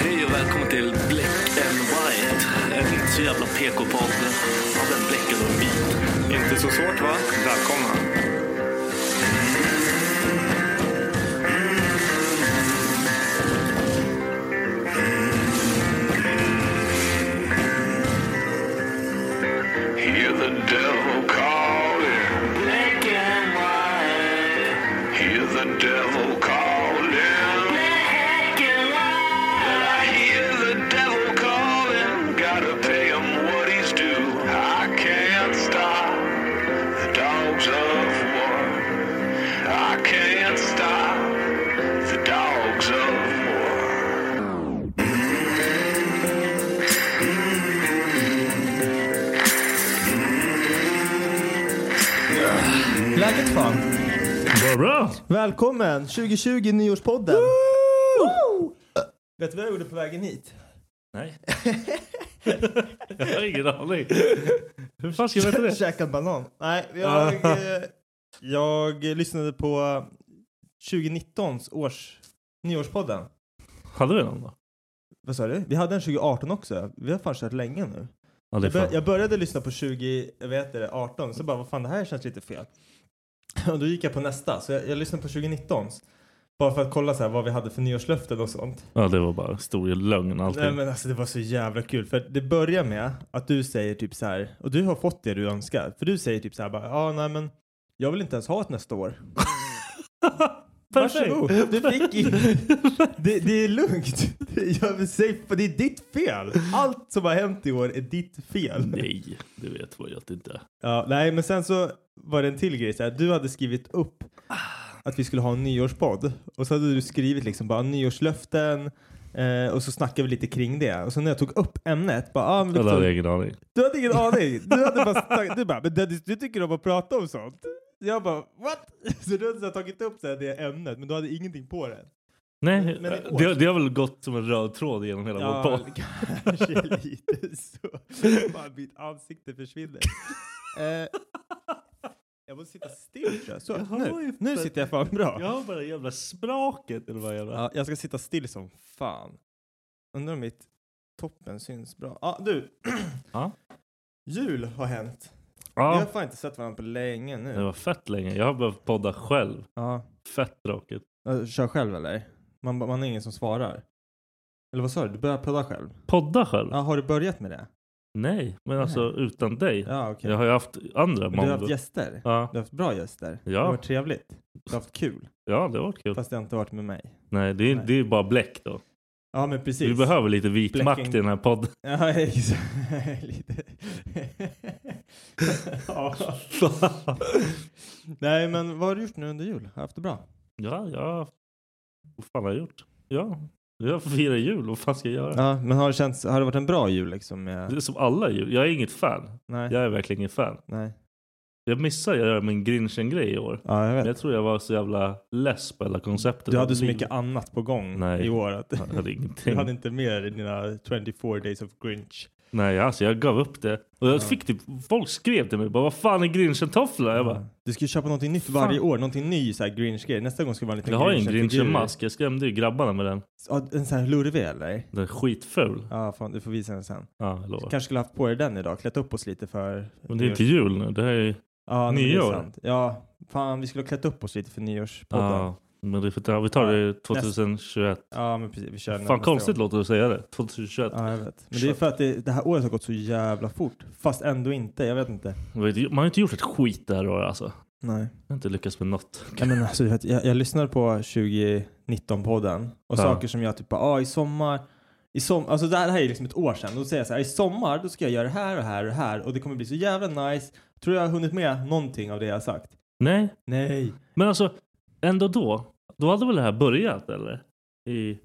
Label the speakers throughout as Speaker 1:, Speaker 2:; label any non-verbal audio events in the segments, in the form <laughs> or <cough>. Speaker 1: Hej och välkommen till Black and White. En inte så jävla PK-podd av en bläckad och vit.
Speaker 2: Inte så svårt va? Välkomna.
Speaker 3: Hear the devil calling. Black and white. Hear the devil calling. Black and white. I hear the devil calling. Gotta pay him what he's due. I can't stop the dogs of war. I can't stop the dogs of war.
Speaker 4: Läget fan?
Speaker 2: Vad bra.
Speaker 4: Välkommen 2020 nyårspodden. Woo! Vet du vad jag gjorde på vägen hit?
Speaker 2: Nej. Jag har ingen aning. Hur fan ska jag veta det?
Speaker 4: Käkade banan. Nej, jag, eh, jag lyssnade på 2019s års nyårspodden.
Speaker 2: Hade vi någon då?
Speaker 4: Vad sa du? Vi hade en 2018 också. Vi har fan kört länge nu.
Speaker 2: Ja, det är
Speaker 4: Jag, bör,
Speaker 2: fan.
Speaker 4: jag började lyssna på 20, jag vet det, 18, så bara vad fan det här känns lite fel. Och då gick jag på nästa, så Alltså, jag, jag lyssnade på 2019s. Bara för att kolla så här, vad vi hade för nyårslöften och sånt.
Speaker 2: Ja, det var bara stor lögn allting.
Speaker 4: Nej men alltså det var så jävla kul för det börjar med att du säger typ så här och du har fått det du önskar för du säger typ så här bara ja ah, nej men jag vill inte ens ha ett nästa år.
Speaker 2: <laughs> Perfekt.
Speaker 4: Varsågod, du fick
Speaker 2: <laughs>
Speaker 4: in. Det, det är lugnt. <laughs> Det- Jag vill säga, för det är ditt fel. Allt som har hänt i år är ditt fel.
Speaker 2: Nej, det vet vad jag inte är.
Speaker 4: Ja, nej men sen så var det en till grej så här, du hade skrivit upp att vi skulle ha en nyårspodd och så hade du skrivit liksom bara nyårslöften eh, och så snackade vi lite kring det och så när jag tog upp ämnet bara ah, men
Speaker 2: Jag hade
Speaker 4: Victor,
Speaker 2: ingen aning.
Speaker 4: du hade ingen aning. Du hade
Speaker 2: <laughs>
Speaker 4: bara, snack- du bara men Dennis du tycker om att prata om sånt. Jag bara what? <laughs> Så du hade så här, tagit upp så här, det ämnet men du hade ingenting på det.
Speaker 2: Nej,
Speaker 4: Men i år-
Speaker 2: det, det har väl gått som en röd tråd genom hela vår podd.
Speaker 4: kanske lite <laughs> så. Bara mitt ansikte försvinner. eh, jag måste sitta still tror jag. Så,
Speaker 2: Jag har ju
Speaker 4: nu, nu
Speaker 2: för-
Speaker 4: sitter jag fan bra.
Speaker 2: Jag har bara jävla spraket eller vad jävla...
Speaker 4: Ja, jag ska sitta still som fan. Undrar om mitt toppen syns bra. Ja, du. <clears throat>
Speaker 2: Ja.
Speaker 4: Jul har hänt. Vi har
Speaker 2: Ja,
Speaker 4: fan inte sett varandra på länge nu.
Speaker 2: det var fett länge. Jag har behövt podda själv.
Speaker 4: Ja.
Speaker 2: Fett tråkigt.
Speaker 4: Eh, Kör själv eller? Man, man är ingen som svarar. Eller vad sa du? Du börjar prata själv?
Speaker 2: Podda själv?
Speaker 4: Ja, har du börjat med det?
Speaker 2: Nej, men alltså utan dig.
Speaker 4: Ja, okej.
Speaker 2: Jag har ju haft andra
Speaker 4: Men Du har
Speaker 2: måndag.
Speaker 4: haft gäster.
Speaker 2: Ja.
Speaker 4: Du har haft bra gäster.
Speaker 2: Ja.
Speaker 4: Det har varit trevligt. Du har haft kul.
Speaker 2: ja, det har varit kul.
Speaker 4: Fast det har inte varit med mig.
Speaker 2: Nej, det är,
Speaker 4: Nej.
Speaker 2: Det är bara bläck då.
Speaker 4: Ja, men precis.
Speaker 2: Vi behöver lite vit
Speaker 4: Bläcken-
Speaker 2: makt i den här podden.
Speaker 4: <laughs> Ja, exakt. Lite.
Speaker 2: <laughs>
Speaker 4: ja. <laughs> Nej, men vad har du gjort nu under jul? Har du haft det bra?
Speaker 2: Ja, ja. Vad fan har jag gjort? Ja, jag firar jul. Vad fan ska jag göra?
Speaker 4: Ja, men har det, känts, har det varit en bra jul liksom? Med...
Speaker 2: Det är som alla jul. Jag är inget fan.
Speaker 4: Nej.
Speaker 2: Jag är verkligen inget fan.
Speaker 4: Nej.
Speaker 2: Jag missade att göra min Grinchen-grej i år.
Speaker 4: Ja, jag
Speaker 2: Men
Speaker 4: vet.
Speaker 2: jag tror jag var så jävla less på hela konceptet.
Speaker 4: Du
Speaker 2: av
Speaker 4: hade så
Speaker 2: liv.
Speaker 4: mycket annat på gång
Speaker 2: Nej.
Speaker 4: i år. Att...
Speaker 2: Jag
Speaker 4: <laughs>
Speaker 2: hade ingenting.
Speaker 4: Du hade inte med dig dina 24 days of Grinch.
Speaker 2: Nej, alltså jag gav upp det. Och jag
Speaker 4: Ja.
Speaker 2: fick typ, folk skrev till mig bara vad fan är Grinchen-tofflor? Jag bara,
Speaker 4: Du ska ju köpa någonting nytt varje år, någonting ny så här Grinch-grej. Nästa gång ska det vara en liten
Speaker 2: jag har ju en
Speaker 4: Grinchen-figur.
Speaker 2: Grinchen-mask. Jag skrämde ju grabbarna med den.
Speaker 4: Ja, en sån här lurvig eller?
Speaker 2: Den är skitful.
Speaker 4: Ja, fan, du får visa den sen.
Speaker 2: Ja, jag lovar.
Speaker 4: Kanske skulle haft på dig den idag, klätt upp oss lite för...
Speaker 2: Men det är inte jul nu. Det här är
Speaker 4: Ja, nej, men det är
Speaker 2: nyår.
Speaker 4: sant. Ja, fan vi skulle ha klätt upp oss lite för nyårspodden.
Speaker 2: Ja, men det är för, ja, vi tar det 2021.
Speaker 4: Ja, men precis. Vi kör den
Speaker 2: Fan
Speaker 4: nästa
Speaker 2: konstigt
Speaker 4: gång.
Speaker 2: låter det att säga det. 2021.
Speaker 4: Ja, jag vet. Men det är för att det, det här året har gått så jävla fort. Fast ändå inte, jag vet inte.
Speaker 2: Jag vet, Man har ju inte gjort ett skit det här året alltså. Jag
Speaker 4: Nej.
Speaker 2: har inte lyckats med något.
Speaker 4: Ja, men alltså, jag, vet, jag, jag lyssnade på 2019-podden och
Speaker 2: Ja.
Speaker 4: saker som jag typ bara, ah, i sommar, i som, alltså det här är liksom ett år sedan. Då säger jag så här, i sommar då ska jag göra det här och det här och det här och det kommer bli så jävla nice. Tror jag har hunnit med någonting av det jag har sagt?
Speaker 2: Nej,
Speaker 4: Nej.
Speaker 2: men alltså ändå då. Då hade väl det här börjat eller? I...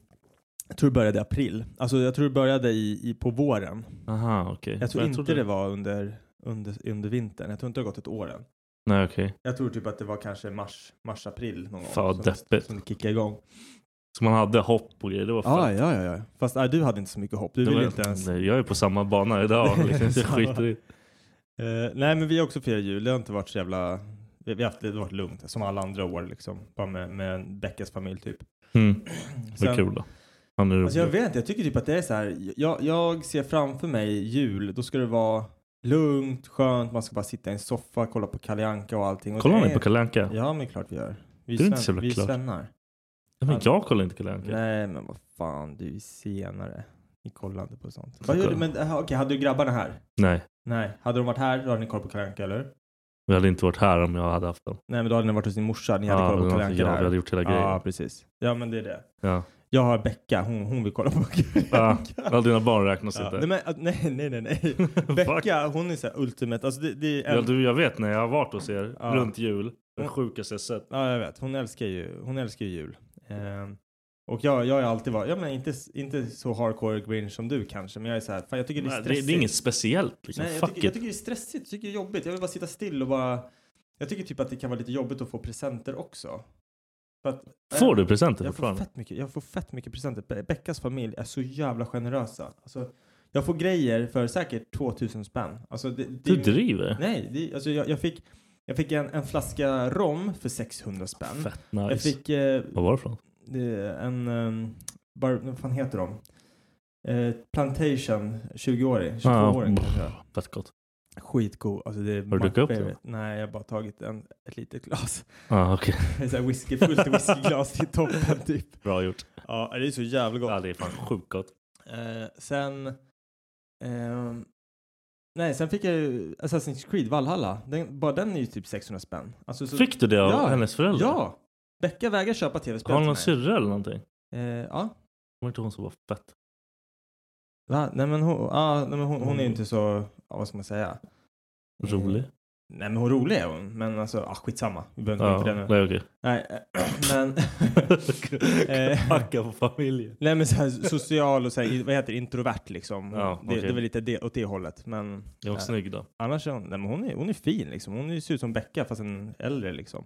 Speaker 4: Jag tror det började i april. Alltså jag tror det började i, i, på våren.
Speaker 2: Aha, okej.
Speaker 4: Jag tror
Speaker 2: Men
Speaker 4: inte
Speaker 2: trodde-
Speaker 4: det var under, under, under vintern. Jag tror inte det har gått ett år än.
Speaker 2: Nej, okej.
Speaker 4: Jag tror typ att det var kanske mars, mars april någon gång.
Speaker 2: Fan, vad
Speaker 4: som,
Speaker 2: deppigt.
Speaker 4: som det kickade igång.
Speaker 2: Så man hade hopp och grejer. Det var fett.
Speaker 4: Ah, ja, ja, ja. Fast nej, du hade inte så mycket hopp. Du
Speaker 2: det
Speaker 4: ville
Speaker 2: var...
Speaker 4: inte ens.
Speaker 2: Nej, jag är på samma
Speaker 4: <laughs>
Speaker 2: bana idag. Liksom. Jag
Speaker 4: Samma.
Speaker 2: skiter i.
Speaker 4: Eh, nej, men vi har också firat jul. Det har inte varit så jävla... Vi vi har haft det har varit lugnt, som alla andra år liksom. Bara med, med Beckas familj typ. <clears throat>
Speaker 2: Mm.
Speaker 4: Sen-
Speaker 2: Vad kul då. Han är rolig.
Speaker 4: Alltså jag vet inte, jag tycker typ att det är så här. Jag, jag ser framför mig jul, då ska det vara lugnt, skönt, man ska bara sitta i en soffa, kolla på Kalle Anka och allting. Och
Speaker 2: Kollar
Speaker 4: det
Speaker 2: ni på Kalle Anka?
Speaker 4: Ja, men klart vi gör. Vi
Speaker 2: Det är inte så jävla
Speaker 4: vi
Speaker 2: klart.
Speaker 4: svennar. Alltså.
Speaker 2: Ja, men jag kollar inte Kalle Anka.
Speaker 4: Nej, men vad fan, du är senare. Ni kollar inte på sånt.
Speaker 2: Jag
Speaker 4: Vad gör du?
Speaker 2: kollar.
Speaker 4: Men aha, okej, hade du grabbarna här?
Speaker 2: Nej.
Speaker 4: Nej. Hade de varit här, då hade ni kollat på Kalle Anka, eller?
Speaker 2: Vi hade inte varit här om jag hade haft den.
Speaker 4: Nej, men då hade ni varit hos din morsa. Ni hade
Speaker 2: Ja,
Speaker 4: kollat på
Speaker 2: men
Speaker 4: Kalle Anka
Speaker 2: alltså, ja,
Speaker 4: där.
Speaker 2: vi hade gjort hela
Speaker 4: Ja,
Speaker 2: grejen.
Speaker 4: precis. Ja, men det är det.
Speaker 2: Ja.
Speaker 4: Jag har Becka, hon, hon vill kolla på Kalle
Speaker 2: Ja,
Speaker 4: Anka.
Speaker 2: alla dina barn räknas
Speaker 4: Ja.
Speaker 2: inte.
Speaker 4: Nej, men, att- nej, nej, nej.
Speaker 2: <laughs>
Speaker 4: nej. Becka, hon är så här ultimate. Alltså, det, det är
Speaker 2: Ja,
Speaker 4: en...
Speaker 2: du, jag vet när jag har varit hos er
Speaker 4: Ja.
Speaker 2: runt jul. Det
Speaker 4: Mm.
Speaker 2: sjukaste jag sett.
Speaker 4: ja, jag vet. Hon älskar ju, hon älskar ju jul. Ehm, och jag, jag har alltid varit, ja men inte, inte så hardcore grinch som du kanske, men jag är så här, fan jag tycker det är
Speaker 2: Nej,
Speaker 4: stressigt.
Speaker 2: det, det är inget speciellt liksom.
Speaker 4: Nej, jag,
Speaker 2: Fuck
Speaker 4: tycker, jag
Speaker 2: it.
Speaker 4: tycker det är stressigt, jag tycker det är jobbigt. Jag vill bara sitta still och bara... Jag tycker typ att det kan vara lite jobbigt att få presenter också. För att,
Speaker 2: Får du presenter
Speaker 4: jag får,
Speaker 2: fortfarande?
Speaker 4: fett mycket, jag får fett mycket presenter. Be- Beckas familj är så jävla generösa. Alltså, jag får grejer för säkert 2000 spänn. Alltså, det, det,
Speaker 2: Du driver?
Speaker 4: Nej, det, alltså, jag, jag fick, jag fick en, en flaska rom för 600 spänn.
Speaker 2: Fett nice.
Speaker 4: Jag fick eh,
Speaker 2: Vad var det för något?
Speaker 4: det- en, um, bar, vad fan heter de? Eh, plantation, 20-åring, 22-åring
Speaker 2: Ah,
Speaker 4: kanske.
Speaker 2: Fett gott.
Speaker 4: Skitgod. Alltså det är
Speaker 2: Har du
Speaker 4: my
Speaker 2: druckit upp
Speaker 4: favorite. Nej, jag har bara tagit en, ett litet glas.
Speaker 2: Ah, okej.
Speaker 4: <laughs> Det är så här whisky,
Speaker 2: <laughs>
Speaker 4: fullt whiskyglas i toppen typ.
Speaker 2: Bra gjort.
Speaker 4: Ja, det är så jävla gott.
Speaker 2: Ja, det är fan sjukt gott.
Speaker 4: Eh, sen... ehm, nej, sen fick jag ju Assassin's Creed Valhalla. Den, bara den är ju typ 600 spänn. Alltså, så,
Speaker 2: Fick du det av
Speaker 4: Ja.
Speaker 2: hennes föräldrar?
Speaker 4: Ja! Becka vägrar köpa tv-spel
Speaker 2: Har hon någon
Speaker 4: till mig.
Speaker 2: syrra eller någonting?
Speaker 4: Eh, Ja.
Speaker 2: Var inte hon som var fett?
Speaker 4: Va? Nej men hon, ah, nej, men hon, hon är ju inte så, ja, vad ska man säga? Eh,
Speaker 2: Rolig?
Speaker 4: Nej men hon rolig är hon, men alltså ah, skitsamma. Vi behöver
Speaker 2: Ja,
Speaker 4: inte gå in på det nu.
Speaker 2: nej okej.
Speaker 4: Nej, eh,
Speaker 2: <laughs>
Speaker 4: men... Eh,
Speaker 2: Hacka på familjen.
Speaker 4: Nej men så här, social och så här, vad heter det, introvert liksom.
Speaker 2: Ja,
Speaker 4: det, det
Speaker 2: okej.
Speaker 4: är väl lite det, åt det hållet. Men
Speaker 2: Är hon
Speaker 4: Nej.
Speaker 2: snygg då?
Speaker 4: annars är hon, nej, men hon, är, hon är fin liksom. Hon ser ut som Becka fast en äldre liksom.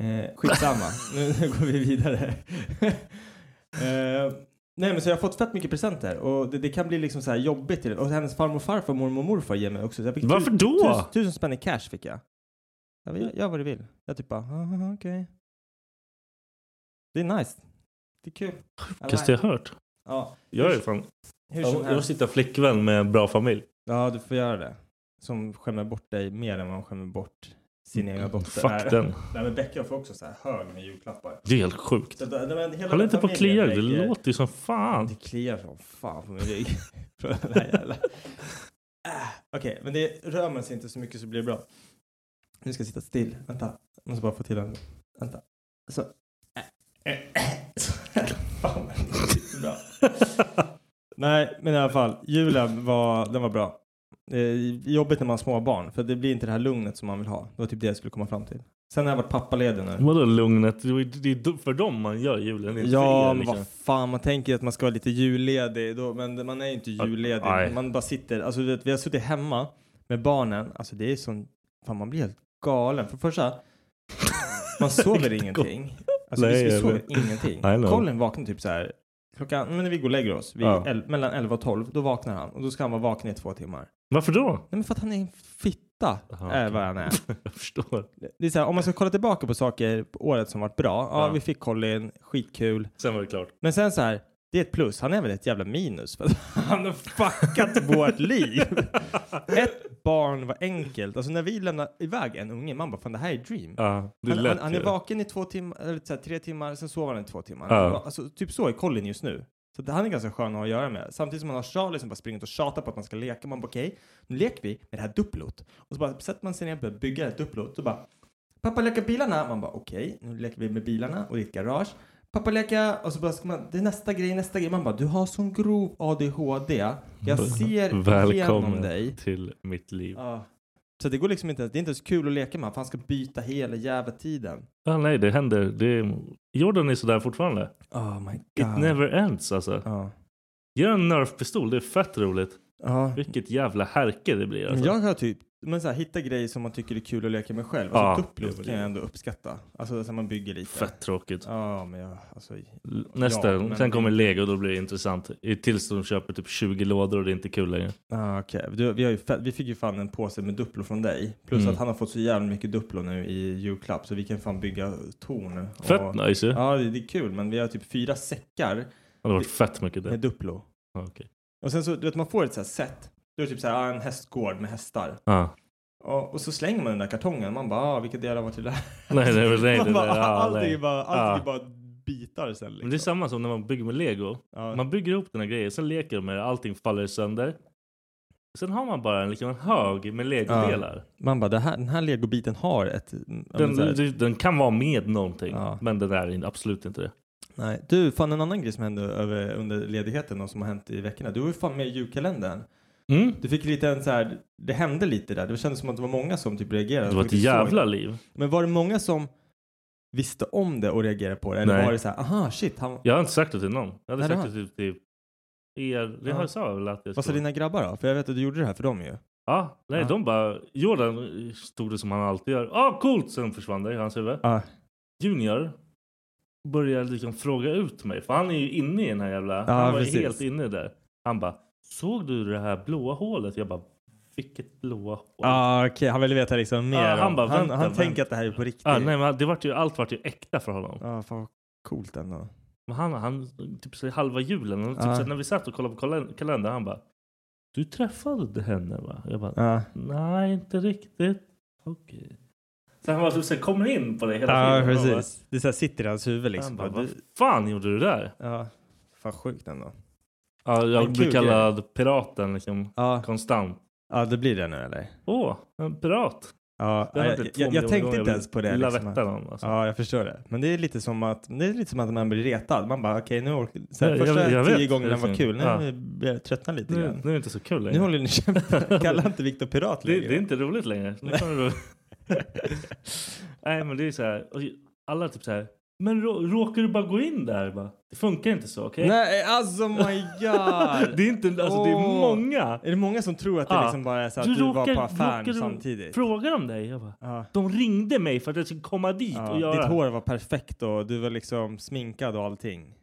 Speaker 4: Eh,
Speaker 2: <laughs>
Speaker 4: skitsamma, nu, nu går vi vidare. <laughs> eh, nej men så jag har fått fett mycket presenter och det, det kan bli liksom så här jobbigt. Och hennes farmor och farfar, mormor och morfar ger mig också. Så jag fick
Speaker 2: Varför
Speaker 4: tu-
Speaker 2: då?
Speaker 4: Tusen, tusen spänn i cash fick jag. Jag, jag gör vad du vill. Jag typ bara, "Ah, ah, ah, okej. Det är nice. Det är kul. I
Speaker 2: Sjukaste jag
Speaker 4: like.
Speaker 2: hört.
Speaker 4: Ja,
Speaker 2: Jag är
Speaker 4: Hur-
Speaker 2: fan...
Speaker 4: hur
Speaker 2: Jag
Speaker 4: som
Speaker 2: jag
Speaker 4: helst.
Speaker 2: sitter flickvän med bra familj.
Speaker 4: Ja, du får göra det. Som skämmer bort dig mer än vad hon skämmer bort sin egna dotter. Nej.
Speaker 2: Fuck den.
Speaker 4: Nej, men Becka får också så här hög med julklappar.
Speaker 2: Det är helt sjukt.
Speaker 4: Så, det- det- men hela
Speaker 2: Håll inte på och klia
Speaker 4: familjen
Speaker 2: dig, det
Speaker 4: lägger-
Speaker 2: låter ju som
Speaker 4: <laughs>
Speaker 2: fan.
Speaker 4: Det kliar som fan på min rygg. Från den här jävla- Ah, Okej, men det rör man sig inte så mycket så blir det bra. Nu ska jag sitta still. Vänta, jag måste bara få till en. Vänta. Så. <coughs> Äh, äh, äh. Så här. Fan, det är bra. Nej, men i alla fall. Julen var, den var bra. Det är jobbigt när man har små barn för det blir inte det här lugnet som man vill ha. Det var typ det jag skulle komma fram till. Sen har jag varit pappaledig nu.
Speaker 2: Vadå lugnet? Det är ju du- för dem man gör julen. inte för
Speaker 4: Ja,
Speaker 2: er,
Speaker 4: men vad
Speaker 2: liksom.
Speaker 4: fan, man tänker att man ska vara lite julledig då, men man är ju inte julledig.
Speaker 2: nej.
Speaker 4: Man bara sitter, alltså du vet, vi har suttit hemma med barnen, alltså det är sån, fan man blir helt galen. För det första, man sover ingenting. Alltså
Speaker 2: Nej,
Speaker 4: vi, vi
Speaker 2: jag
Speaker 4: sover
Speaker 2: vet.
Speaker 4: ingenting.
Speaker 2: I know.
Speaker 4: Colin vaknar typ så här, klockan, men när vi går och lägger oss, vid
Speaker 2: Ja.
Speaker 4: el, mellan 11 och 12, då vaknar han och då ska han vara vaken i två timmar.
Speaker 2: Varför då?
Speaker 4: Nej men för att han är en fitta,
Speaker 2: Aha,
Speaker 4: är
Speaker 2: okej.
Speaker 4: vad han är.
Speaker 2: Jag förstår.
Speaker 4: Det är så här, om man ska kolla tillbaka på saker på året som varit bra, ja,
Speaker 2: Ja.
Speaker 4: vi fick Colin, skitkul.
Speaker 2: Sen var det klart.
Speaker 4: Men sen så här, det är ett plus. Han är väl ett jävla minus för att <laughs> han har fuckat vårt liv.
Speaker 2: <laughs>
Speaker 4: Ett barn var enkelt. Alltså när vi lämnar iväg en unge, man bara fan det här är dream.
Speaker 2: Ja, det
Speaker 4: Han, han,
Speaker 2: lät
Speaker 4: han
Speaker 2: ju.
Speaker 4: är vaken i två timmar, eller så här, tre timmar, sen sover han i två timmar.
Speaker 2: Ja.
Speaker 4: Alltså, typ så är Colin just nu. Så det, han är ganska skön att ha att göra med. Samtidigt som man har Charlie som bara springer ut och tjatar på att man ska leka. Man bara okej, nu leker vi med det här duplot. Och så bara sätter man sig ner och börjar bygga ett duplot. Och bara pappa leka bilarna. Man bara okej, nu leker vi med bilarna och ditt garage. Pappa leka och så bara ska man, det är nästa grej, nästa grej. Man bara du har sån grov ADHD. Jag
Speaker 2: Mm.
Speaker 4: ser igenom
Speaker 2: <laughs> Välkommen
Speaker 4: dig.
Speaker 2: till mitt liv.
Speaker 4: Ja. Så det går liksom inte ens, det är inte ens kul att leka med honom, för han ska byta hela jävla tiden.
Speaker 2: Ja, Ah, nej, det händer. Det... Jordan är sådär fortfarande.
Speaker 4: Oh my
Speaker 2: It never ends alltså.
Speaker 4: Ja.
Speaker 2: Gör en nerfpistol, det är fett roligt.
Speaker 4: Ja.
Speaker 2: Vilket jävla härke det blir
Speaker 4: Men
Speaker 2: alltså.
Speaker 4: Jag har typ, men så här, hitta grejer som man tycker är kul att leka med själv. Alltså
Speaker 2: Ja, det är
Speaker 4: Duplo
Speaker 2: väl
Speaker 4: kan
Speaker 2: det.
Speaker 4: jag ändå uppskatta. Alltså så man bygger lite.
Speaker 2: Fett tråkigt.
Speaker 4: Ja, men jag, alltså.
Speaker 2: L- Nästa,
Speaker 4: Ja, men-
Speaker 2: sen kommer Lego och då blir det intressant. I- Tills de köper typ 20 lådor och det är inte kul längre.
Speaker 4: Ah, okej. Du, vi, har ju fett, vi fick ju fan en påse med Duplo från dig. Plus
Speaker 2: Mm.
Speaker 4: att han har fått så jävla mycket Duplo nu i julklapp så vi kan fan bygga torn. och-
Speaker 2: Fett nice ju.
Speaker 4: Ja, det, det är kul, men vi har typ fyra säckar
Speaker 2: Det har varit fett mycket
Speaker 4: med
Speaker 2: det.
Speaker 4: Duplo.
Speaker 2: Ja, okej.
Speaker 4: Och sen så, du vet, man får ett så här set. Du är typ så här, ah, en hästgård med hästar.
Speaker 2: Ja.
Speaker 4: Och, och så slänger man den där kartongen. Man bara, ah, vilka delar var till det här?
Speaker 2: <laughs> Nej, nej, nej.
Speaker 4: Man
Speaker 2: Det
Speaker 4: bara,
Speaker 2: där, ja,
Speaker 4: allting
Speaker 2: nej.
Speaker 4: är bara, allting
Speaker 2: Ja.
Speaker 4: är bara bitar sen. Liksom.
Speaker 2: Men det är samma som när man bygger med lego.
Speaker 4: Ja.
Speaker 2: Man bygger ihop den här grejen, sen leker de med det, allting faller sönder. Sen har man bara en, liksom en hög med legodelar.
Speaker 4: Man bara, det här, den här legobiten har ett... ja, men
Speaker 2: Den,
Speaker 4: så här-
Speaker 2: den, den kan vara med någonting,
Speaker 4: Ja.
Speaker 2: men den är in- absolut inte det.
Speaker 4: nej. Du, fan en annan grej som hände över, under ledigheten och som har hänt i veckorna. Du var ju fan med i julkalendern.
Speaker 2: Mm.
Speaker 4: Du fick lite en så här, det hände lite där. Det kändes som att det var många som typ reagerade.
Speaker 2: Det var
Speaker 4: Folk
Speaker 2: ett
Speaker 4: såg
Speaker 2: jävla
Speaker 4: det.
Speaker 2: liv.
Speaker 4: Men var det många som visste om det och reagerade på det? Eller
Speaker 2: Nej.
Speaker 4: var det så här, aha shit, han...
Speaker 2: Jag har inte sagt det till någon. Jag hade
Speaker 4: Nej, det
Speaker 2: sagt det till, till er. Det
Speaker 4: Ja.
Speaker 2: har jag sa jag väl att
Speaker 4: Vad
Speaker 2: jag
Speaker 4: sa
Speaker 2: skulle-
Speaker 4: dina grabbar då? För jag vet att du gjorde det här för dem ju.
Speaker 2: Ja, nej,
Speaker 4: Ja.
Speaker 2: de bara... Jordan stod det som han alltid gör. Ah, coolt! Sen försvann det i hans huvud.
Speaker 4: Ja.
Speaker 2: Junior började liksom fråga ut mig. För han är ju inne i den här jävla...
Speaker 4: Ja,
Speaker 2: han var ju
Speaker 4: precis.
Speaker 2: helt inne där. Han bara, såg du det här blåa hålet? Jag bara, vilket blåa hål?
Speaker 4: Ah, okej, han ville veta liksom mer.
Speaker 2: Ja,
Speaker 4: om-
Speaker 2: han bara,
Speaker 4: han,
Speaker 2: vänta,
Speaker 4: han
Speaker 2: vänta.
Speaker 4: tänker att det här är på riktigt.
Speaker 2: Ah, nej, men det vart ju, allt vart ju äkta för honom.
Speaker 4: Ja, fan vad coolt ändå.
Speaker 2: Men han, han typ så här halva julen, och typ
Speaker 4: Ja.
Speaker 2: så här, när vi satt och kollade på kalen- kalendern, han bara Du träffade henne va? Jag bara
Speaker 4: Ja,
Speaker 2: Nej, inte riktigt. Okej. Så han bara typ så här, kommer in på det hela
Speaker 4: ja
Speaker 2: tiden. Han
Speaker 4: precis. Det är så här sitter i hans huvud
Speaker 2: bara,
Speaker 4: liksom.
Speaker 2: han bara,
Speaker 4: Bara,
Speaker 2: vad
Speaker 4: du,
Speaker 2: fan gjorde du där?
Speaker 4: ja, fan sjukt ändå.
Speaker 2: Ja,
Speaker 4: Men
Speaker 2: jag
Speaker 4: kul
Speaker 2: blir kallad piraten liksom
Speaker 4: Ja,
Speaker 2: konstant.
Speaker 4: ja det blir det nu eller?
Speaker 2: Åh, en pirat.
Speaker 4: Ja,
Speaker 2: Det har
Speaker 4: jag,
Speaker 2: hänt
Speaker 4: jag,
Speaker 2: två
Speaker 4: jag,
Speaker 2: miljoner
Speaker 4: tänkte
Speaker 2: gånger.
Speaker 4: inte ens på det.
Speaker 2: Lilla
Speaker 4: Liksom.
Speaker 2: Vättern, alltså.
Speaker 4: Ja, jag förstår det. Men det är lite som att, det är lite som att man blir retad. Man bara, okej nu orkar så här,
Speaker 2: Ja, jag-
Speaker 4: Första
Speaker 2: jag vet.
Speaker 4: tio gångerna var kul. Nu
Speaker 2: Ja.
Speaker 4: börjar jag tröttna lite
Speaker 2: Nu,
Speaker 4: grann.
Speaker 2: nu är det inte så kul
Speaker 4: Nu
Speaker 2: längre.
Speaker 4: håller ni
Speaker 2: <laughs>
Speaker 4: kämpa. Kalla inte Viktor pirat
Speaker 2: Det,
Speaker 4: längre.
Speaker 2: det är inte roligt längre. Nu kommer det...
Speaker 4: <laughs>
Speaker 2: Nej men det är så här. och Alla typ så här. Men rå- råkar du bara gå in där? Bara, det funkar inte så, okej?
Speaker 4: Nej, alltså my god.
Speaker 2: Det är inte, alltså det är
Speaker 4: Åh.
Speaker 2: många.
Speaker 4: Är det många som tror att det
Speaker 2: Ja.
Speaker 4: liksom bara är så att du, var på affären
Speaker 2: råkar du-
Speaker 4: samtidigt?
Speaker 2: Frågar om dig? Jag bara,
Speaker 4: Ja.
Speaker 2: de ringde mig för att jag skulle komma dit
Speaker 4: Ja,
Speaker 2: och göra.
Speaker 4: ditt hår var perfekt och du var liksom sminkad och allting.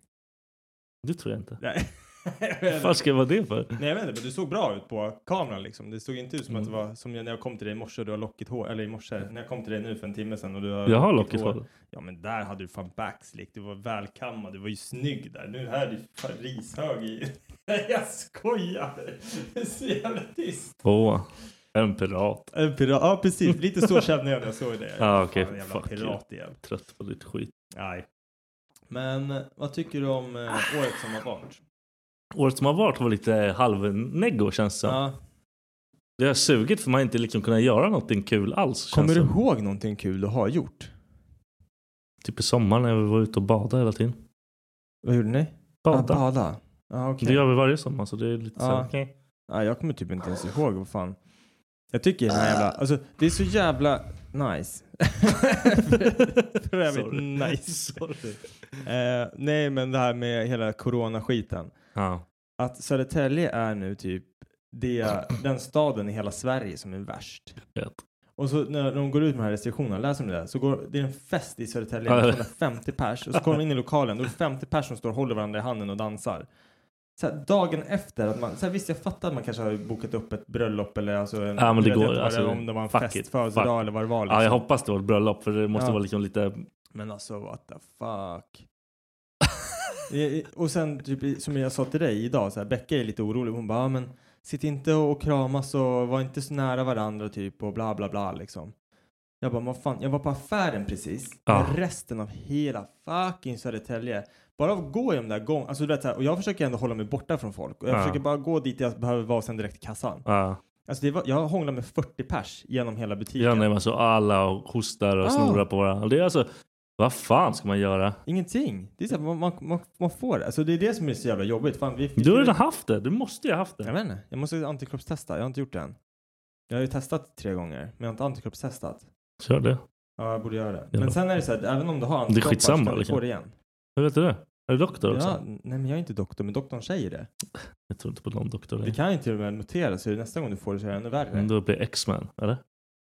Speaker 2: Det tror jag inte.
Speaker 4: Nej, jag
Speaker 2: Vad
Speaker 4: vet
Speaker 2: fan
Speaker 4: inte.
Speaker 2: ska jag vara det för?
Speaker 4: Nej, jag vet inte, men du såg bra ut på kameran liksom. Det såg inte ut som att det
Speaker 2: Mm.
Speaker 4: var som när jag kom till dig i morse och du har lockigt hår. Eller i morse, när jag kom till dig nu för en timme sedan och du har
Speaker 2: Jag har lockigt hår.
Speaker 4: Ja, men där hade du fan backslick. Du var välkammad. Du var ju snygg där. Nu här är du fan rishög i... <laughs> Nej, jag skojar! Det är så jävla tyst.
Speaker 2: Åh, en pirat.
Speaker 4: En pirat. Ja, precis. Lite så kände jag när jag såg
Speaker 2: <laughs>
Speaker 4: dig.
Speaker 2: Ja, Ah, okej.
Speaker 4: Fan, jävla
Speaker 2: Fuck you.
Speaker 4: pirat igen.
Speaker 2: Trött på ditt skit.
Speaker 4: Nej. Men eh, vad tycker du om eh, året som har varit?
Speaker 2: Året som har varit var lite halvneggo känns det som.
Speaker 4: Ja.
Speaker 2: Det har sugit för man har inte liksom kunnat göra någonting kul alls. känns
Speaker 4: Kommer du
Speaker 2: det.
Speaker 4: ihåg någonting kul du har gjort?
Speaker 2: Typ i sommar när vi var ute och badade hela tiden.
Speaker 4: Vad gjorde ni?
Speaker 2: Bada.
Speaker 4: Ah, bada. Ah, okej.
Speaker 2: Det gör vi varje sommar så det är lite så
Speaker 4: Ja.
Speaker 2: här, okej.
Speaker 4: Ah, jag kommer typ inte ens ihåg vad fan. Jag tycker den här jävla, alltså det är så jävla nice. <laughs> För
Speaker 2: Sorry.
Speaker 4: övrigt nice.
Speaker 2: Sorry.
Speaker 4: Eh, nej men det här med hela coronaskiten.
Speaker 2: Ja.
Speaker 4: Att Södertälje är nu typ det, den staden i hela Sverige som är värst.
Speaker 2: Vet.
Speaker 4: Och så när de går ut med de här restriktionerna, läser om det där, så går, det är en fest i Södertälje
Speaker 2: Ja, jag
Speaker 4: med
Speaker 2: vet.
Speaker 4: 250 pers och så kommer de in i lokalen, då är det 50 pers som står och håller varandra i handen och dansar. Så här, dagen efter, att man, så här, visst jag fattar att man kanske har bokat upp ett bröllop eller alltså en,
Speaker 2: Ja, men det
Speaker 4: jag vet
Speaker 2: går,
Speaker 4: inte vad
Speaker 2: alltså,
Speaker 4: om det var en
Speaker 2: fuck
Speaker 4: fest,
Speaker 2: it,
Speaker 4: födelsedag
Speaker 2: fuck.
Speaker 4: eller vad det var. liksom?
Speaker 2: ja, jag hoppas det var ett bröllop för det måste
Speaker 4: Ja.
Speaker 2: vara liksom lite...
Speaker 4: Men alltså what the fuck. <laughs> Eh, och sen typ, i- som jag sa till dig idag, så här, Becka är lite orolig. Hon bara, "Ja, men sitt inte och kramas och var inte så nära varandra typ och bla bla bla liksom. Jag bara, vad fan, jag var på affären precis.
Speaker 2: Ja.
Speaker 4: Med resten av hela fucking Södertälje. Bara av att gå i de där gång... Alltså du vet så här, och jag försöker ändå hålla mig borta från folk. Och jag
Speaker 2: Ja.
Speaker 4: försöker bara gå dit jag behöver vara och sen direkt till kassan.
Speaker 2: Ja.
Speaker 4: Alltså det var, jag hånglade med 40 pers genom hela butiken.
Speaker 2: Ja, nej, men så alla och hostar och
Speaker 4: Ja.
Speaker 2: snorar på varandra. Det är alltså... Vad fan ska man göra?
Speaker 4: Ingenting. Det är så här, man, man, man, man får det. Alltså det är det som är så jävla jobbigt. Fan, vi,
Speaker 2: Du har redan haft det. Du måste ju ha haft
Speaker 4: Jag
Speaker 2: det.
Speaker 4: vet inte. Jag måste antikroppstesta. Jag har inte gjort det än. Jag har ju testat tre gånger, men jag har inte antikroppstestat.
Speaker 2: Kör det.
Speaker 4: Ja, jag borde göra det.
Speaker 2: Ja.
Speaker 4: Men sen är det så här, även om du har
Speaker 2: Det är
Speaker 4: antikroppar
Speaker 2: skitsamma,
Speaker 4: så kan du
Speaker 2: liksom.
Speaker 4: få det igen.
Speaker 2: Hur vet du det? Är du doktor också?
Speaker 4: Ja, nej, men jag är inte doktor, men doktorn säger det.
Speaker 2: Jag tror inte på någon doktor.
Speaker 4: Det kan ju till och med noteras, så nästa gång du får det så är det ännu värre.
Speaker 2: Men då blir det X-Men, eller?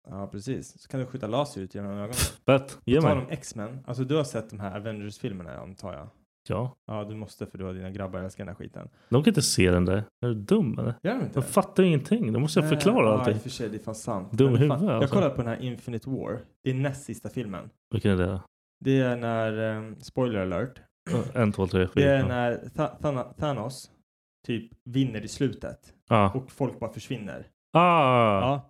Speaker 4: Ja, precis. Så kan du skjuta laser ut genom ögonen.
Speaker 2: Fett. Ge
Speaker 4: På tal om
Speaker 2: mig.
Speaker 4: X-Men, alltså du har sett de här Avengers-filmerna antar jag?
Speaker 2: Ja.
Speaker 4: Ja, du måste för du har dina grabbar älskar den här skiten.
Speaker 2: De kan inte se den där. Är du dum eller?
Speaker 4: Gör de inte?
Speaker 2: De fattar ju ingenting. De måste jag
Speaker 4: Nej,
Speaker 2: förklara
Speaker 4: Ja, i och
Speaker 2: allting.
Speaker 4: för sig, det är fan sant.
Speaker 2: Dum
Speaker 4: Men fan,
Speaker 2: huvud,
Speaker 4: Jag
Speaker 2: alltså.
Speaker 4: kollade på den här Infinite War. Det är näst sista filmen.
Speaker 2: Vilken är det? då?
Speaker 4: Det är när, eh, spoiler alert,
Speaker 2: En, två, tre,
Speaker 4: det är
Speaker 2: fyra.
Speaker 4: när Tha- Thana- Thanos typ vinner i slutet
Speaker 2: Ja.
Speaker 4: och folk bara försvinner.
Speaker 2: Ah!
Speaker 4: Ja.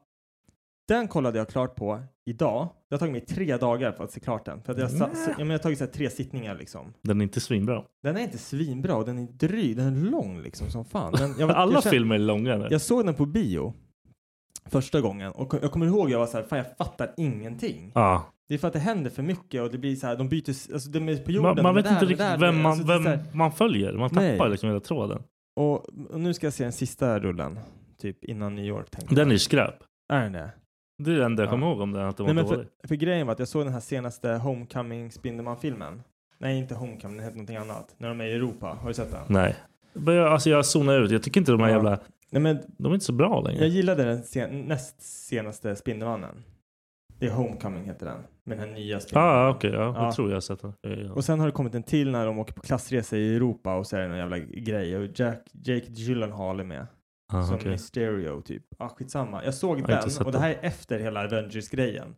Speaker 4: Den kollade jag klart på idag. Det har tagit mig tre dagar för att se klart den. För att jag, sa,
Speaker 2: Nä.
Speaker 4: så, ja, men jag har tagit så här tre sittningar liksom.
Speaker 2: Den är inte svinbra.
Speaker 4: Den är inte svinbra och den är dryg. Den är lång liksom som fan.
Speaker 2: <laughs>
Speaker 4: Men jag, var-
Speaker 2: Alla
Speaker 4: jag kände-
Speaker 2: filmer är långa nu.
Speaker 4: Jag såg den på bio första gången och jag kommer ihåg jag var så här, fan jag fattar ingenting.
Speaker 2: Ja.
Speaker 4: Det är för att det händer för mycket och det blir så här, de byter, s- alltså de är på jorden.
Speaker 2: Man, man
Speaker 4: och
Speaker 2: vet
Speaker 4: där
Speaker 2: inte
Speaker 4: och där,
Speaker 2: riktigt vem man,
Speaker 4: alltså, det är så
Speaker 2: vem
Speaker 4: här-
Speaker 2: man följer. Man
Speaker 4: Nej.
Speaker 2: tappar liksom hela tråden.
Speaker 4: och, och nu ska jag se den sista rullen, typ innan New York tänkte
Speaker 2: Den är
Speaker 4: jag.
Speaker 2: ju skräp.
Speaker 4: Är den det?
Speaker 2: Det är det enda jag
Speaker 4: Ja.
Speaker 2: kommer ihåg om den, att den var
Speaker 4: Nej, men
Speaker 2: dålig.
Speaker 4: för, för grejen var att jag såg den här senaste Homecoming Spindelman-filmen. Nej, inte Homecoming, den hette någonting annat. När de är i Europa, har du sett den?
Speaker 2: Nej. Men jag, alltså jag zonar ut. Jag tycker inte de här
Speaker 4: Ja.
Speaker 2: jävla...
Speaker 4: Nej men
Speaker 2: De är inte så bra längre.
Speaker 4: jag gillade den sen, näst senaste Spindelmannen. Det är Homecoming heter den. Med den här nya Spindelmannen.
Speaker 2: Ah, okej. ja,
Speaker 4: Ja.
Speaker 2: Jag tror jag har sett den. Ja, ja.
Speaker 4: Och sen har det kommit en till när de åker på klassresa i Europa och så är det någon jävla grej och Jack, Jake Gyllenhaal är med.
Speaker 2: Ah,
Speaker 4: som
Speaker 2: okej.
Speaker 4: Mysterio typ. Ah, skitsamma. Jag såg
Speaker 2: Jag har inte
Speaker 4: den
Speaker 2: sett
Speaker 4: och det här är efter hela Avengers-grejen.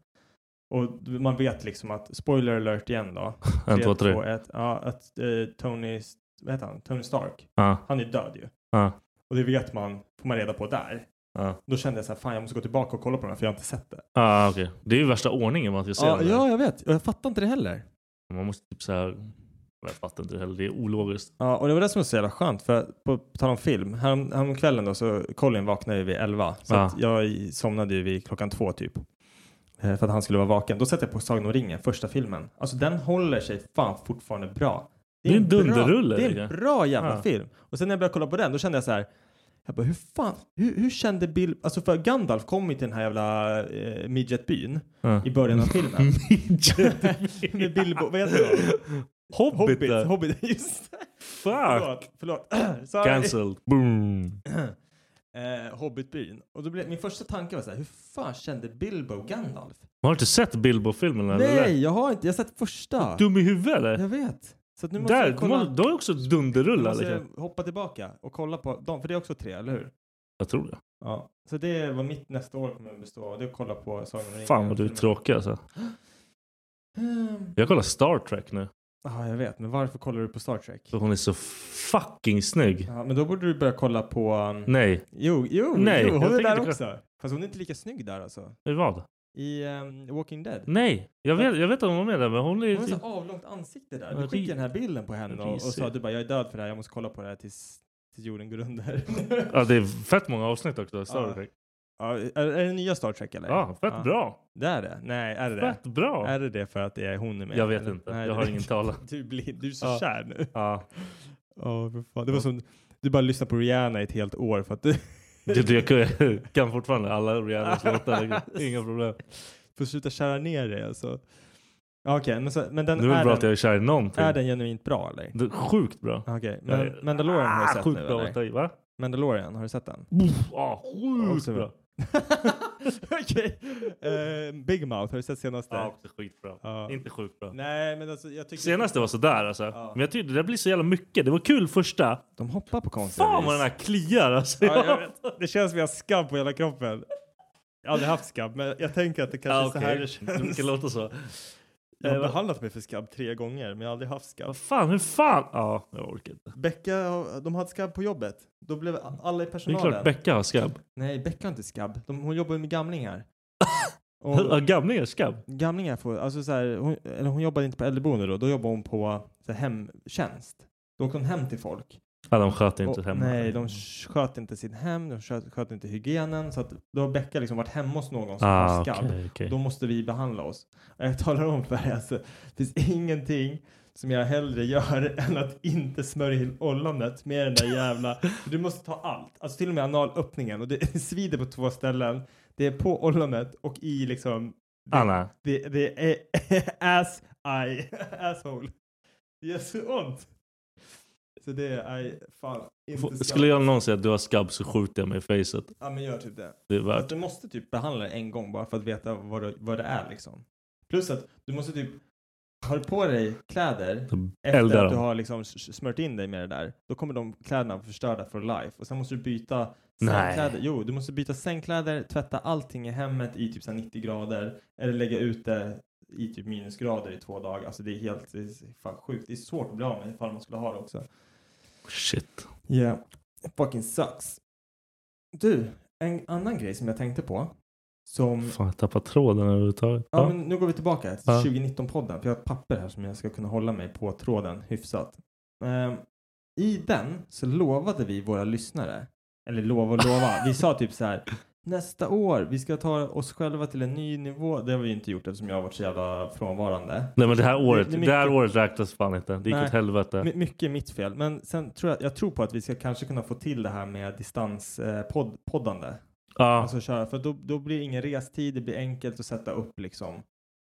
Speaker 4: Och man vet liksom att, spoiler alert igen då.
Speaker 2: <laughs> En,
Speaker 4: Tre,
Speaker 2: två, tre.
Speaker 4: två, ett. ja, att eh, Tony, vad heter han? Tony Stark,
Speaker 2: Ah,
Speaker 4: han är död ju.
Speaker 2: ah,
Speaker 4: Och det vet man, får man reda på där.
Speaker 2: ah.
Speaker 4: Då kände jag så här, fan jag måste gå tillbaka och kolla på den här för jag har inte sett det.
Speaker 2: Ah, okej. Det är ju värsta ordningen man ska se den där.
Speaker 4: jag vet. Och jag fattar inte det heller.
Speaker 2: Man måste typ så här... Jag fattar inte det heller. Det är ologiskt.
Speaker 4: Ja, och det var det som var så jävla skönt. För på på tal om film, härom, härom kvällen då så Colin vaknade ju vid 11. Så
Speaker 2: Ja.
Speaker 4: att jag i- somnade ju vid klockan två typ. Eh, För att han skulle vara vaken. Då satte jag på Sagan om ringen, första filmen. Alltså den håller sig fan <laughs> fortfarande bra.
Speaker 2: Det är en
Speaker 4: bra-
Speaker 2: dunderrulle,
Speaker 4: Det är en
Speaker 2: tycker jag.
Speaker 4: bra jävla
Speaker 2: Ja.
Speaker 4: film. Och sen när jag började kolla på den då kände jag så här. Jag bara hur fan, hur, hur kände Bill, alltså för Gandalf kom ju till den här jävla eh, midgetbyn
Speaker 2: Ah.
Speaker 4: i början av filmen. Med Bilbo, vad heter det?
Speaker 2: Hobbit,
Speaker 4: Hobbit,
Speaker 2: där.
Speaker 4: Hobbit, just det.
Speaker 2: Fuck!
Speaker 4: Förlåt, förlåt. Sorry.
Speaker 2: Cancelled. Boom!
Speaker 4: eh, Hobbitbyn. Och då blev, min första tanke var så här, hur fan kände Bilbo Gandalf?
Speaker 2: Har du inte sett Bilbo-filmen? eller?
Speaker 4: Nej, jag har inte, jag har sett första.
Speaker 2: Dum <laughs> i huvudet eller?
Speaker 4: Jag vet. Så att nu måste
Speaker 2: Där,
Speaker 4: jag kolla.
Speaker 2: de har- de har också
Speaker 4: nu
Speaker 2: dunderrullar.
Speaker 4: måste
Speaker 2: Liksom.
Speaker 4: jag hoppa tillbaka och kolla på dem, för det är också tre, eller hur?
Speaker 2: Jag tror det.
Speaker 4: Ja. Så det är vad mitt nästa år kommer att bestå av. Det är att kolla på Sagan om ringen.
Speaker 2: Fan vad du är
Speaker 4: <gasps>
Speaker 2: tråkig alltså. Jag kollar Star Trek nu.
Speaker 4: Ja, jag vet. Men varför kollar du på Star Trek?
Speaker 2: För hon är så fucking snygg.
Speaker 4: Ja, men då borde du börja kolla på... um,
Speaker 2: Nej,
Speaker 4: Jo, jo,
Speaker 2: Nej,
Speaker 4: jo,
Speaker 2: jag
Speaker 4: hon är
Speaker 2: tänker
Speaker 4: där
Speaker 2: inte-
Speaker 4: också. Fast hon är inte lika snygg där alltså.
Speaker 2: i vad?
Speaker 4: I um, Walking Dead.
Speaker 2: Nej, jag vet, jag vet att hon var med där men hon är... typ-
Speaker 4: Hon har så avlångt ansikte där.
Speaker 2: Ja,
Speaker 4: Du
Speaker 2: ri-
Speaker 4: skickade den här bilden på henne och, och sa
Speaker 2: risig.
Speaker 4: du bara jag är död för det här, jag måste kolla på det här tills, tills jorden går under. <laughs>
Speaker 2: Ja, det är fett många avsnitt också. Star
Speaker 4: Ja.
Speaker 2: Trek.
Speaker 4: Ja, är, är det nya Star Trek eller?
Speaker 2: Ja, fett bra.
Speaker 4: Det är det? Nej, är det det?
Speaker 2: Fett bra.
Speaker 4: Är det det för att det är hon med?
Speaker 2: Jag vet
Speaker 4: eller?
Speaker 2: inte.
Speaker 4: Nej,
Speaker 2: jag
Speaker 4: det-
Speaker 2: har ingen talan.
Speaker 4: Du är blind. Du är så
Speaker 2: Ja.
Speaker 4: kär nu.
Speaker 2: Ja.
Speaker 4: Ja, för fan. Det var som, du bara lyssnade på Rihanna i ett helt år för att du
Speaker 2: Du, du, jag kan- kan fortfarande
Speaker 4: <laughs>
Speaker 2: alla Rihannas låtar. Inga problem.
Speaker 4: får sluta kära ner dig alltså. Ja, Okej, men, så- men den
Speaker 2: Det är väl
Speaker 4: är,
Speaker 2: bra att jag
Speaker 4: den,
Speaker 2: är kär i någonting.
Speaker 4: är den genuint bra eller?
Speaker 2: Det är sjukt bra.
Speaker 4: Okej,
Speaker 2: Jag
Speaker 4: men
Speaker 2: är-
Speaker 4: Mandalorian har du
Speaker 2: Ah,
Speaker 4: sett
Speaker 2: sjukt
Speaker 4: nu
Speaker 2: bra att
Speaker 4: eller?
Speaker 2: ta i, va?
Speaker 4: Mandalorian, har du sett den?
Speaker 2: Ah, sjukt
Speaker 4: Också bra. <laughs>
Speaker 2: bra.
Speaker 4: Okej. Eh, Big Mouth, har du sett senaste?
Speaker 2: Ja, också sjukt bra.
Speaker 4: Ja.
Speaker 2: Inte sjukt bra.
Speaker 4: Nej, men alltså jag tycker...
Speaker 2: Senaste var sådär alltså. Men jag tyckte det blir så jävla mycket. Det var kul första.
Speaker 4: De hoppar på konstiga
Speaker 2: Fan
Speaker 4: vis.
Speaker 2: vad den här kliar alltså.
Speaker 4: Ja, jag vet. Det känns som jag har skabb på hela kroppen. Jag har aldrig haft skabb, men jag tänker att det kanske
Speaker 2: Ja,
Speaker 4: är så här
Speaker 2: okej.
Speaker 4: det
Speaker 2: Det
Speaker 4: känns.
Speaker 2: kan låta så.
Speaker 4: Jag
Speaker 2: Eh,
Speaker 4: har
Speaker 2: vad-
Speaker 4: behandlat mig för skabb tre gånger, men jag har aldrig haft skabb.
Speaker 2: Vad fan, hur fan? Ja, jag orkar inte. Mm.
Speaker 4: Becka, har- de hade skabb på jobbet. Då blev alla i
Speaker 2: Det är
Speaker 4: personalen...
Speaker 2: klart Becka har skabb.
Speaker 4: Nej, Becka har inte skabb. De, hon jobbar med
Speaker 2: <laughs>
Speaker 4: gamlingar.
Speaker 2: Har
Speaker 4: Och
Speaker 2: gamlingar skabb?
Speaker 4: gamlingar får... Alltså så här, hon, eller hon jobbade inte på äldreboende då. Då jobbade hon på så här, hemtjänst. Då åkte hon hem till folk.
Speaker 2: Ja, de sköter inte
Speaker 4: Och-
Speaker 2: hemma.
Speaker 4: Nej, de sköt inte sitt hem, de sköt, sköt inte hygienen. Så att då har Becka liksom varit hemma hos någon som
Speaker 2: Ah,
Speaker 4: har
Speaker 2: okej,
Speaker 4: skabb.
Speaker 2: okej.
Speaker 4: Då måste vi behandla oss. Och Jag talar om för dig, alltså, det finns ingenting som jag hellre gör än att inte smörja in ollonet med den där jävla... Du måste ta allt, alltså till och med analöppningen. Och det, <laughs> svider på två ställen. Det är på ollonet och i liksom... Det,
Speaker 2: Anna,
Speaker 4: Det, det är <laughs> ass eye, <laughs> asshole. Det gör så ont. Så det är, nej, fan. Inte ska-
Speaker 2: skulle jag någon säga att du har skabb så skjuter jag mig i facet.
Speaker 4: Ja men gör typ det.
Speaker 2: Det är värt
Speaker 4: Att du måste typ behandla det en gång bara för att veta vad det, vad det är liksom. Plus att du måste typ, har du på dig kläder
Speaker 2: Så
Speaker 4: efter
Speaker 2: eldar
Speaker 4: att du
Speaker 2: dem.
Speaker 4: har liksom s- s- smört in dig med det där, då kommer de kläderna vara förstörda for life. Och sen måste du byta
Speaker 2: Nej.
Speaker 4: sängkläder. Jo, du måste byta sängkläder, tvätta allting i hemmet i typ så här 90 grader eller lägga ut det i typ minusgrader i två dagar. Alltså det är helt det är fan sjukt. Det är svårt att bli av med ifall man skulle ha det också.
Speaker 2: Shit.
Speaker 4: Yeah. It fucking sucks. Du, en annan grej som jag tänkte på. Som...
Speaker 2: Fan, jag tappar tråden överhuvudtaget.
Speaker 4: Ja,
Speaker 2: Ja,
Speaker 4: men nu går vi tillbaka till
Speaker 2: Ja.
Speaker 4: 2019-podden. För jag har ett papper här som jag ska kunna hålla mig på tråden hyfsat. Ehm, I den så lovade vi våra lyssnare. Eller lova och
Speaker 2: <laughs>
Speaker 4: lova. vi sa typ så här. Nästa år, vi ska ta oss själva till en ny nivå. Det har vi ju inte gjort eftersom jag har varit så jävla frånvarande.
Speaker 2: Nej men det här året,
Speaker 4: Det-
Speaker 2: det,
Speaker 4: det är
Speaker 2: här
Speaker 4: mycket-
Speaker 2: året räknas fan inte. Det gick
Speaker 4: Nej.
Speaker 2: åt helvete.
Speaker 4: My- mycket är mitt fel. Men sen tror jag, jag tror på att vi ska kanske kunna få till det här med eh, distanspoddande.
Speaker 2: Ja,
Speaker 4: Alltså köra, för då, då blir det ingen restid, det blir enkelt att sätta upp liksom.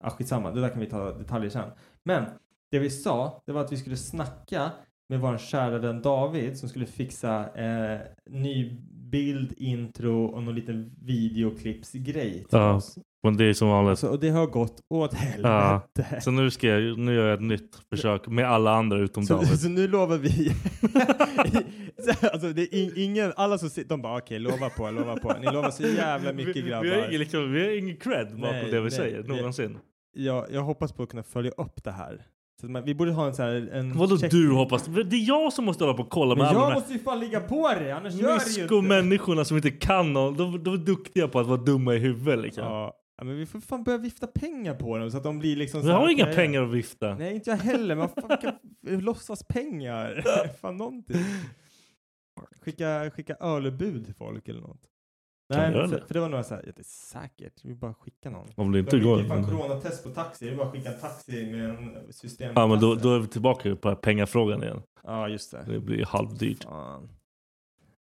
Speaker 4: Ah, skitsamma, det där kan vi ta detaljer sen. Men det vi sa, det var att vi skulle snacka med vår kära vän David som skulle fixa eh, ny bild, intro och någon liten videoklippsgrej till
Speaker 2: Ja,
Speaker 4: oss.
Speaker 2: men det är som vanligt.
Speaker 4: Alltså, och det har gått åt helvete.
Speaker 2: Ja, Så nu, ska jag, nu gör jag ett nytt försök med alla andra utom
Speaker 4: Så,
Speaker 2: David.
Speaker 4: så nu lovar vi. Så, alltså, det är in, ingen, alla som sitter, de bara okej, lova på, lova på. Ni lovar så jävla
Speaker 2: Vi-
Speaker 4: mycket
Speaker 2: Vi, har ingen,
Speaker 4: grabbar.
Speaker 2: liksom, vi har ingen cred bakom
Speaker 4: Nej,
Speaker 2: det vi
Speaker 4: nej,
Speaker 2: säger
Speaker 4: vi-
Speaker 2: någonsin.
Speaker 4: Jag, jag hoppas på att kunna följa upp det här. Så att man, vi borde ha en sån här... En
Speaker 2: Vadå
Speaker 4: check-
Speaker 2: du hoppas? Det är jag som måste hålla på och kolla
Speaker 4: Men
Speaker 2: med alla
Speaker 4: jag
Speaker 2: de här
Speaker 4: måste ju fan ligga på det, annars gör det ju inte.
Speaker 2: Mysko-människorna som inte kan någon. De, de är duktiga på att vara dumma i huvudet liksom.
Speaker 4: Ja, ja, men vi får fan börja vifta pengar på dem så att de blir liksom...
Speaker 2: Vi
Speaker 4: så här,
Speaker 2: har inga
Speaker 4: okej.
Speaker 2: pengar att vifta.
Speaker 4: Nej, inte jag heller. Man fan kan låtsas
Speaker 2: <laughs>
Speaker 4: pengar. <laughs> fan någonting. Skicka, skicka ölbud till folk eller något.
Speaker 2: Kan
Speaker 4: Nej,
Speaker 2: vi göra
Speaker 4: för,
Speaker 2: det?
Speaker 4: för det var några såhär, ja, det är säkert. Vi bara skicka någon.
Speaker 2: Om det inte
Speaker 4: Jag
Speaker 2: går.
Speaker 4: skickar fan coronatest på taxi. Det är bara att skicka en taxi med en system.
Speaker 2: Ja men då, då är vi tillbaka på pengafrågan igen.
Speaker 4: Ja, just det.
Speaker 2: Det blir halvdyrt.
Speaker 4: Fan.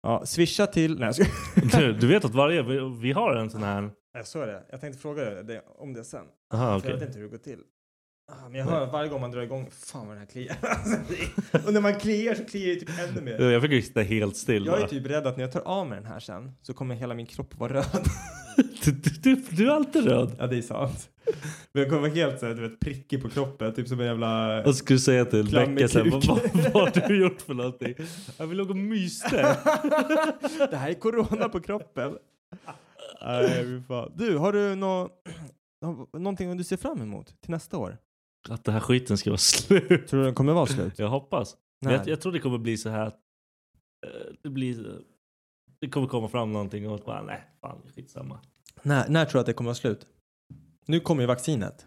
Speaker 4: Ja, swisha till... Nej, jag skojar.
Speaker 2: Du, du vet att varje, vi, vi har en sån här...
Speaker 4: Jag såg det. Jag tänkte fråga dig det, om det sen.
Speaker 2: Aha,
Speaker 4: För jag
Speaker 2: okej.
Speaker 4: vet inte hur det går till. Ah, men jag hör varje gång man drar igång, fan vad den här kliar. <laughs> Alltså, det- och när man kliar så kliar det typ ännu mer.
Speaker 2: Jag fick ju sitta helt still
Speaker 4: Jag är
Speaker 2: bara.
Speaker 4: typ rädd att när jag tar av mig den här sen så kommer hela min kropp vara röd. <laughs>
Speaker 2: Du, du- du, du är alltid röd.
Speaker 4: ja, det är sant. Men jag kommer vara helt så här, du vet, prickig på kroppen, typ som en jävla...
Speaker 2: Jag skulle säga till
Speaker 4: Klam i
Speaker 2: Becka sen,
Speaker 4: kuk.
Speaker 2: vad, vad, vad har du gjort för någonting? Jag vill låg och myste.
Speaker 4: <laughs> det här är corona på kroppen. Nej, fy fan. Du, har du nå... <clears throat> någonting du ser fram emot till nästa år?
Speaker 2: Att den här skiten ska vara slut.
Speaker 4: Tror du den kommer vara slut?
Speaker 2: Jag hoppas. Men
Speaker 4: Nej.
Speaker 2: Jag, jag tror det kommer bli så här att eh, det blir... Det kommer komma fram någonting och bara nej, fan skitsamma.
Speaker 4: När, när tror du att det kommer vara slut? Nu kommer ju vaccinet.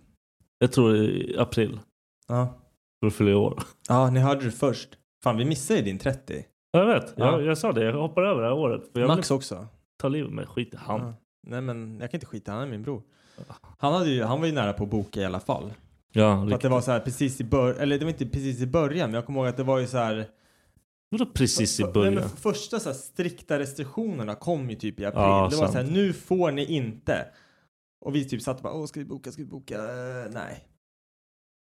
Speaker 2: Jag tror i april,
Speaker 4: Ja.
Speaker 2: för att fylla i år.
Speaker 4: Ja, ni hörde det först. Fan, vi missade ju din 30.
Speaker 2: Jag vet,
Speaker 4: Ja.
Speaker 2: jag, jag sa det. Jag hoppar över det här året. För jag vill
Speaker 4: Max också.
Speaker 2: ta livet av mig. Skit i han.
Speaker 4: Ja. Nej men jag kan inte skita han är min bror. Han, hade ju, han var ju nära på att boka i alla fall.
Speaker 2: Ja,
Speaker 4: För att det var så här precis i början, eller det var inte precis i början men jag kommer ihåg att det var ju så här.
Speaker 2: Vadå precis i
Speaker 4: Nej, men
Speaker 2: början?
Speaker 4: första så här strikta restriktionerna kom ju typ i april.
Speaker 2: Ja,
Speaker 4: det var
Speaker 2: sant.
Speaker 4: så här nu får ni inte. Och vi typ satt och bara åh ska vi boka, ska vi boka? Eh, nej.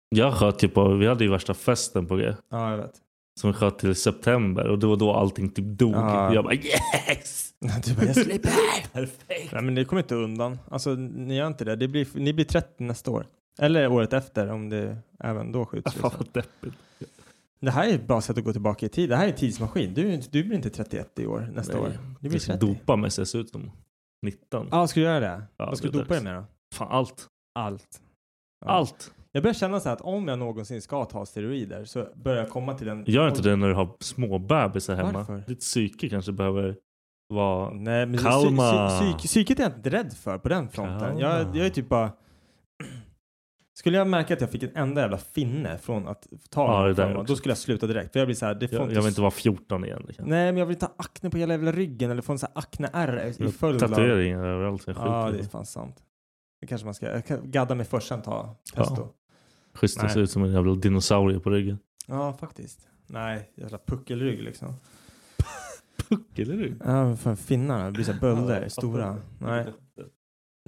Speaker 2: Jag sköt ju på, vi hade ju värsta festen på det.
Speaker 4: Ja jag vet.
Speaker 2: Som vi sköt till september och det var då allting typ dog.
Speaker 4: Ja.
Speaker 2: Jag bara yes!
Speaker 4: <laughs> Du bara jag slipper.
Speaker 2: <laughs> Perfekt!
Speaker 4: nej men ni kommer inte undan. Alltså ni gör inte det. det blir, ni blir 30 nästa år. Eller året efter om det även då skjuts.
Speaker 2: Fan
Speaker 4: liksom.
Speaker 2: vad deppigt.
Speaker 4: Det här är ett bra sätt att gå tillbaka i tid. Det här är en tidsmaskin. Du, du blir inte 31 i år nästa
Speaker 2: Nej.
Speaker 4: år. Du blir
Speaker 2: Jag ska
Speaker 4: 30.
Speaker 2: dopa mig så jag ser ut som 19.
Speaker 4: Ja, ska du göra det?
Speaker 2: Ja,
Speaker 4: Vad ska
Speaker 2: det
Speaker 4: du
Speaker 2: är
Speaker 4: dopa dig
Speaker 2: dags.
Speaker 4: med då?
Speaker 2: Fan allt.
Speaker 4: Allt. Ja.
Speaker 2: Allt.
Speaker 4: Jag börjar känna så här att om jag någonsin ska ta steroider så börjar jag komma till den...
Speaker 2: Gör inte det när du har små bebisar hemma.
Speaker 4: Varför?
Speaker 2: Ditt psyke kanske behöver vara...
Speaker 4: Nej, men
Speaker 2: Kalma.
Speaker 4: Psy, psy, psy, psyket är jag inte rädd för på den fronten.
Speaker 2: Kalma.
Speaker 4: Jag, jag är typ bara... Skulle jag märka att jag fick en enda jävla finne från att ta
Speaker 2: Ja,
Speaker 4: någon
Speaker 2: det där
Speaker 4: form av-
Speaker 2: också.
Speaker 4: då skulle jag sluta direkt. För jag blir så här, det får
Speaker 2: Jag, jag vill inte vara 14 igen. Liksom.
Speaker 4: Nej, men jag vill inte ha akne på hela jävla ryggen eller få en sån här akne-ärr i följd av...
Speaker 2: Tatueringar överallt. så jag skiter
Speaker 4: Ja,
Speaker 2: i
Speaker 4: det är fan sant. Det kanske man ska... Jag kan gadda mig först, sen ta testo.
Speaker 2: Schysst att se
Speaker 4: Nej.
Speaker 2: ut som en jävla dinosaurie på ryggen.
Speaker 4: Ja, faktiskt. Nej, jävla puckelrygg liksom.
Speaker 2: Eller hur?
Speaker 4: Ja, men fan finnarna. Det blir så här bölder. stora. Nej.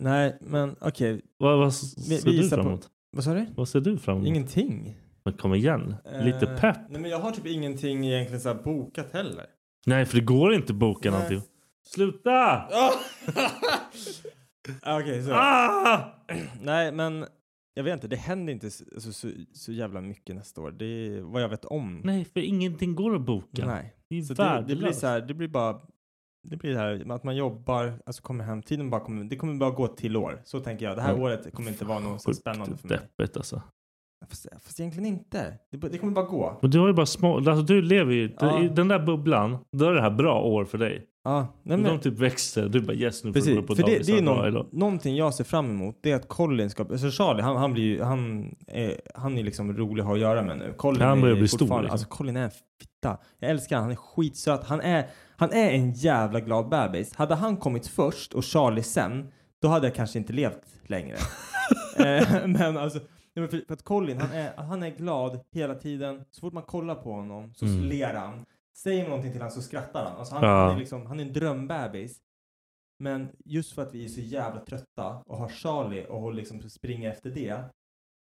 Speaker 4: Nej, men okej.
Speaker 2: Vad, vad
Speaker 4: Vi-
Speaker 2: ser
Speaker 4: vi
Speaker 2: du
Speaker 4: gissar på-
Speaker 2: framåt?
Speaker 4: Vad sa du?
Speaker 2: Vad ser du fram emot?
Speaker 4: Ingenting.
Speaker 2: Men kom igen. Lite
Speaker 4: Eh,
Speaker 2: pepp.
Speaker 4: Nej, men jag har typ ingenting egentligen så här bokat heller.
Speaker 2: Nej, för det går inte att boka
Speaker 4: Nej.
Speaker 2: någonting. Sluta!
Speaker 4: Ah, <laughs> Okej, så.
Speaker 2: Ah!
Speaker 4: Nej, men jag vet inte. Det händer inte så, alltså, så, så jävla mycket nästa år. Det är vad jag vet om.
Speaker 2: Nej, för ingenting går att boka.
Speaker 4: Nej.
Speaker 2: Det är
Speaker 4: Så det, det blir
Speaker 2: värdelöst.
Speaker 4: så här, det blir bara det blir det här med att man jobbar, alltså kommer hem, tiden bara kommer, det kommer bara gå till år. Så tänker jag. Det här
Speaker 2: Ja.
Speaker 4: året kommer inte vara något så
Speaker 2: Sjukt
Speaker 4: spännande typ för mig.
Speaker 2: deppigt alltså.
Speaker 4: Fast, fast egentligen inte. Det, det kommer bara gå.
Speaker 2: Men du har ju bara små... Alltså, du lever ju...
Speaker 4: Ja.
Speaker 2: Du, I den där bubblan, då är det här bra år för dig.
Speaker 4: Ja, nej,
Speaker 2: Men,
Speaker 4: men,
Speaker 2: de typ växer. Du bara yes, nu får
Speaker 4: precis.
Speaker 2: du gå på
Speaker 4: För det,
Speaker 2: dagis
Speaker 4: det är
Speaker 2: varje dag.
Speaker 4: någon, någonting jag ser fram emot. Det är att Colin ska, alltså Charlie, han, han blir ju, han är, han är liksom rolig att ha att göra med nu. Colin
Speaker 2: Han börjar
Speaker 4: är
Speaker 2: bli stor,
Speaker 4: fortfarande-
Speaker 2: liksom.
Speaker 4: Alltså Colin är en fitta. Jag älskar han, han är skitsöt. Han är, han är en jävla glad bebis. Hade han kommit först och Charlie sen, då hade jag kanske inte levt längre.
Speaker 2: <laughs>
Speaker 4: Eh, men alltså, nej, men för, för att Colin, han är, han är glad hela tiden. Så fort man kollar på honom så
Speaker 2: Mm.
Speaker 4: ler han. Säger man någonting till honom så skrattar han. Alltså, han,
Speaker 2: Ja.
Speaker 4: han, är liksom, han är en drömbebis. Men just för att vi är så jävla trötta och har Charlie och hon liksom springer efter det.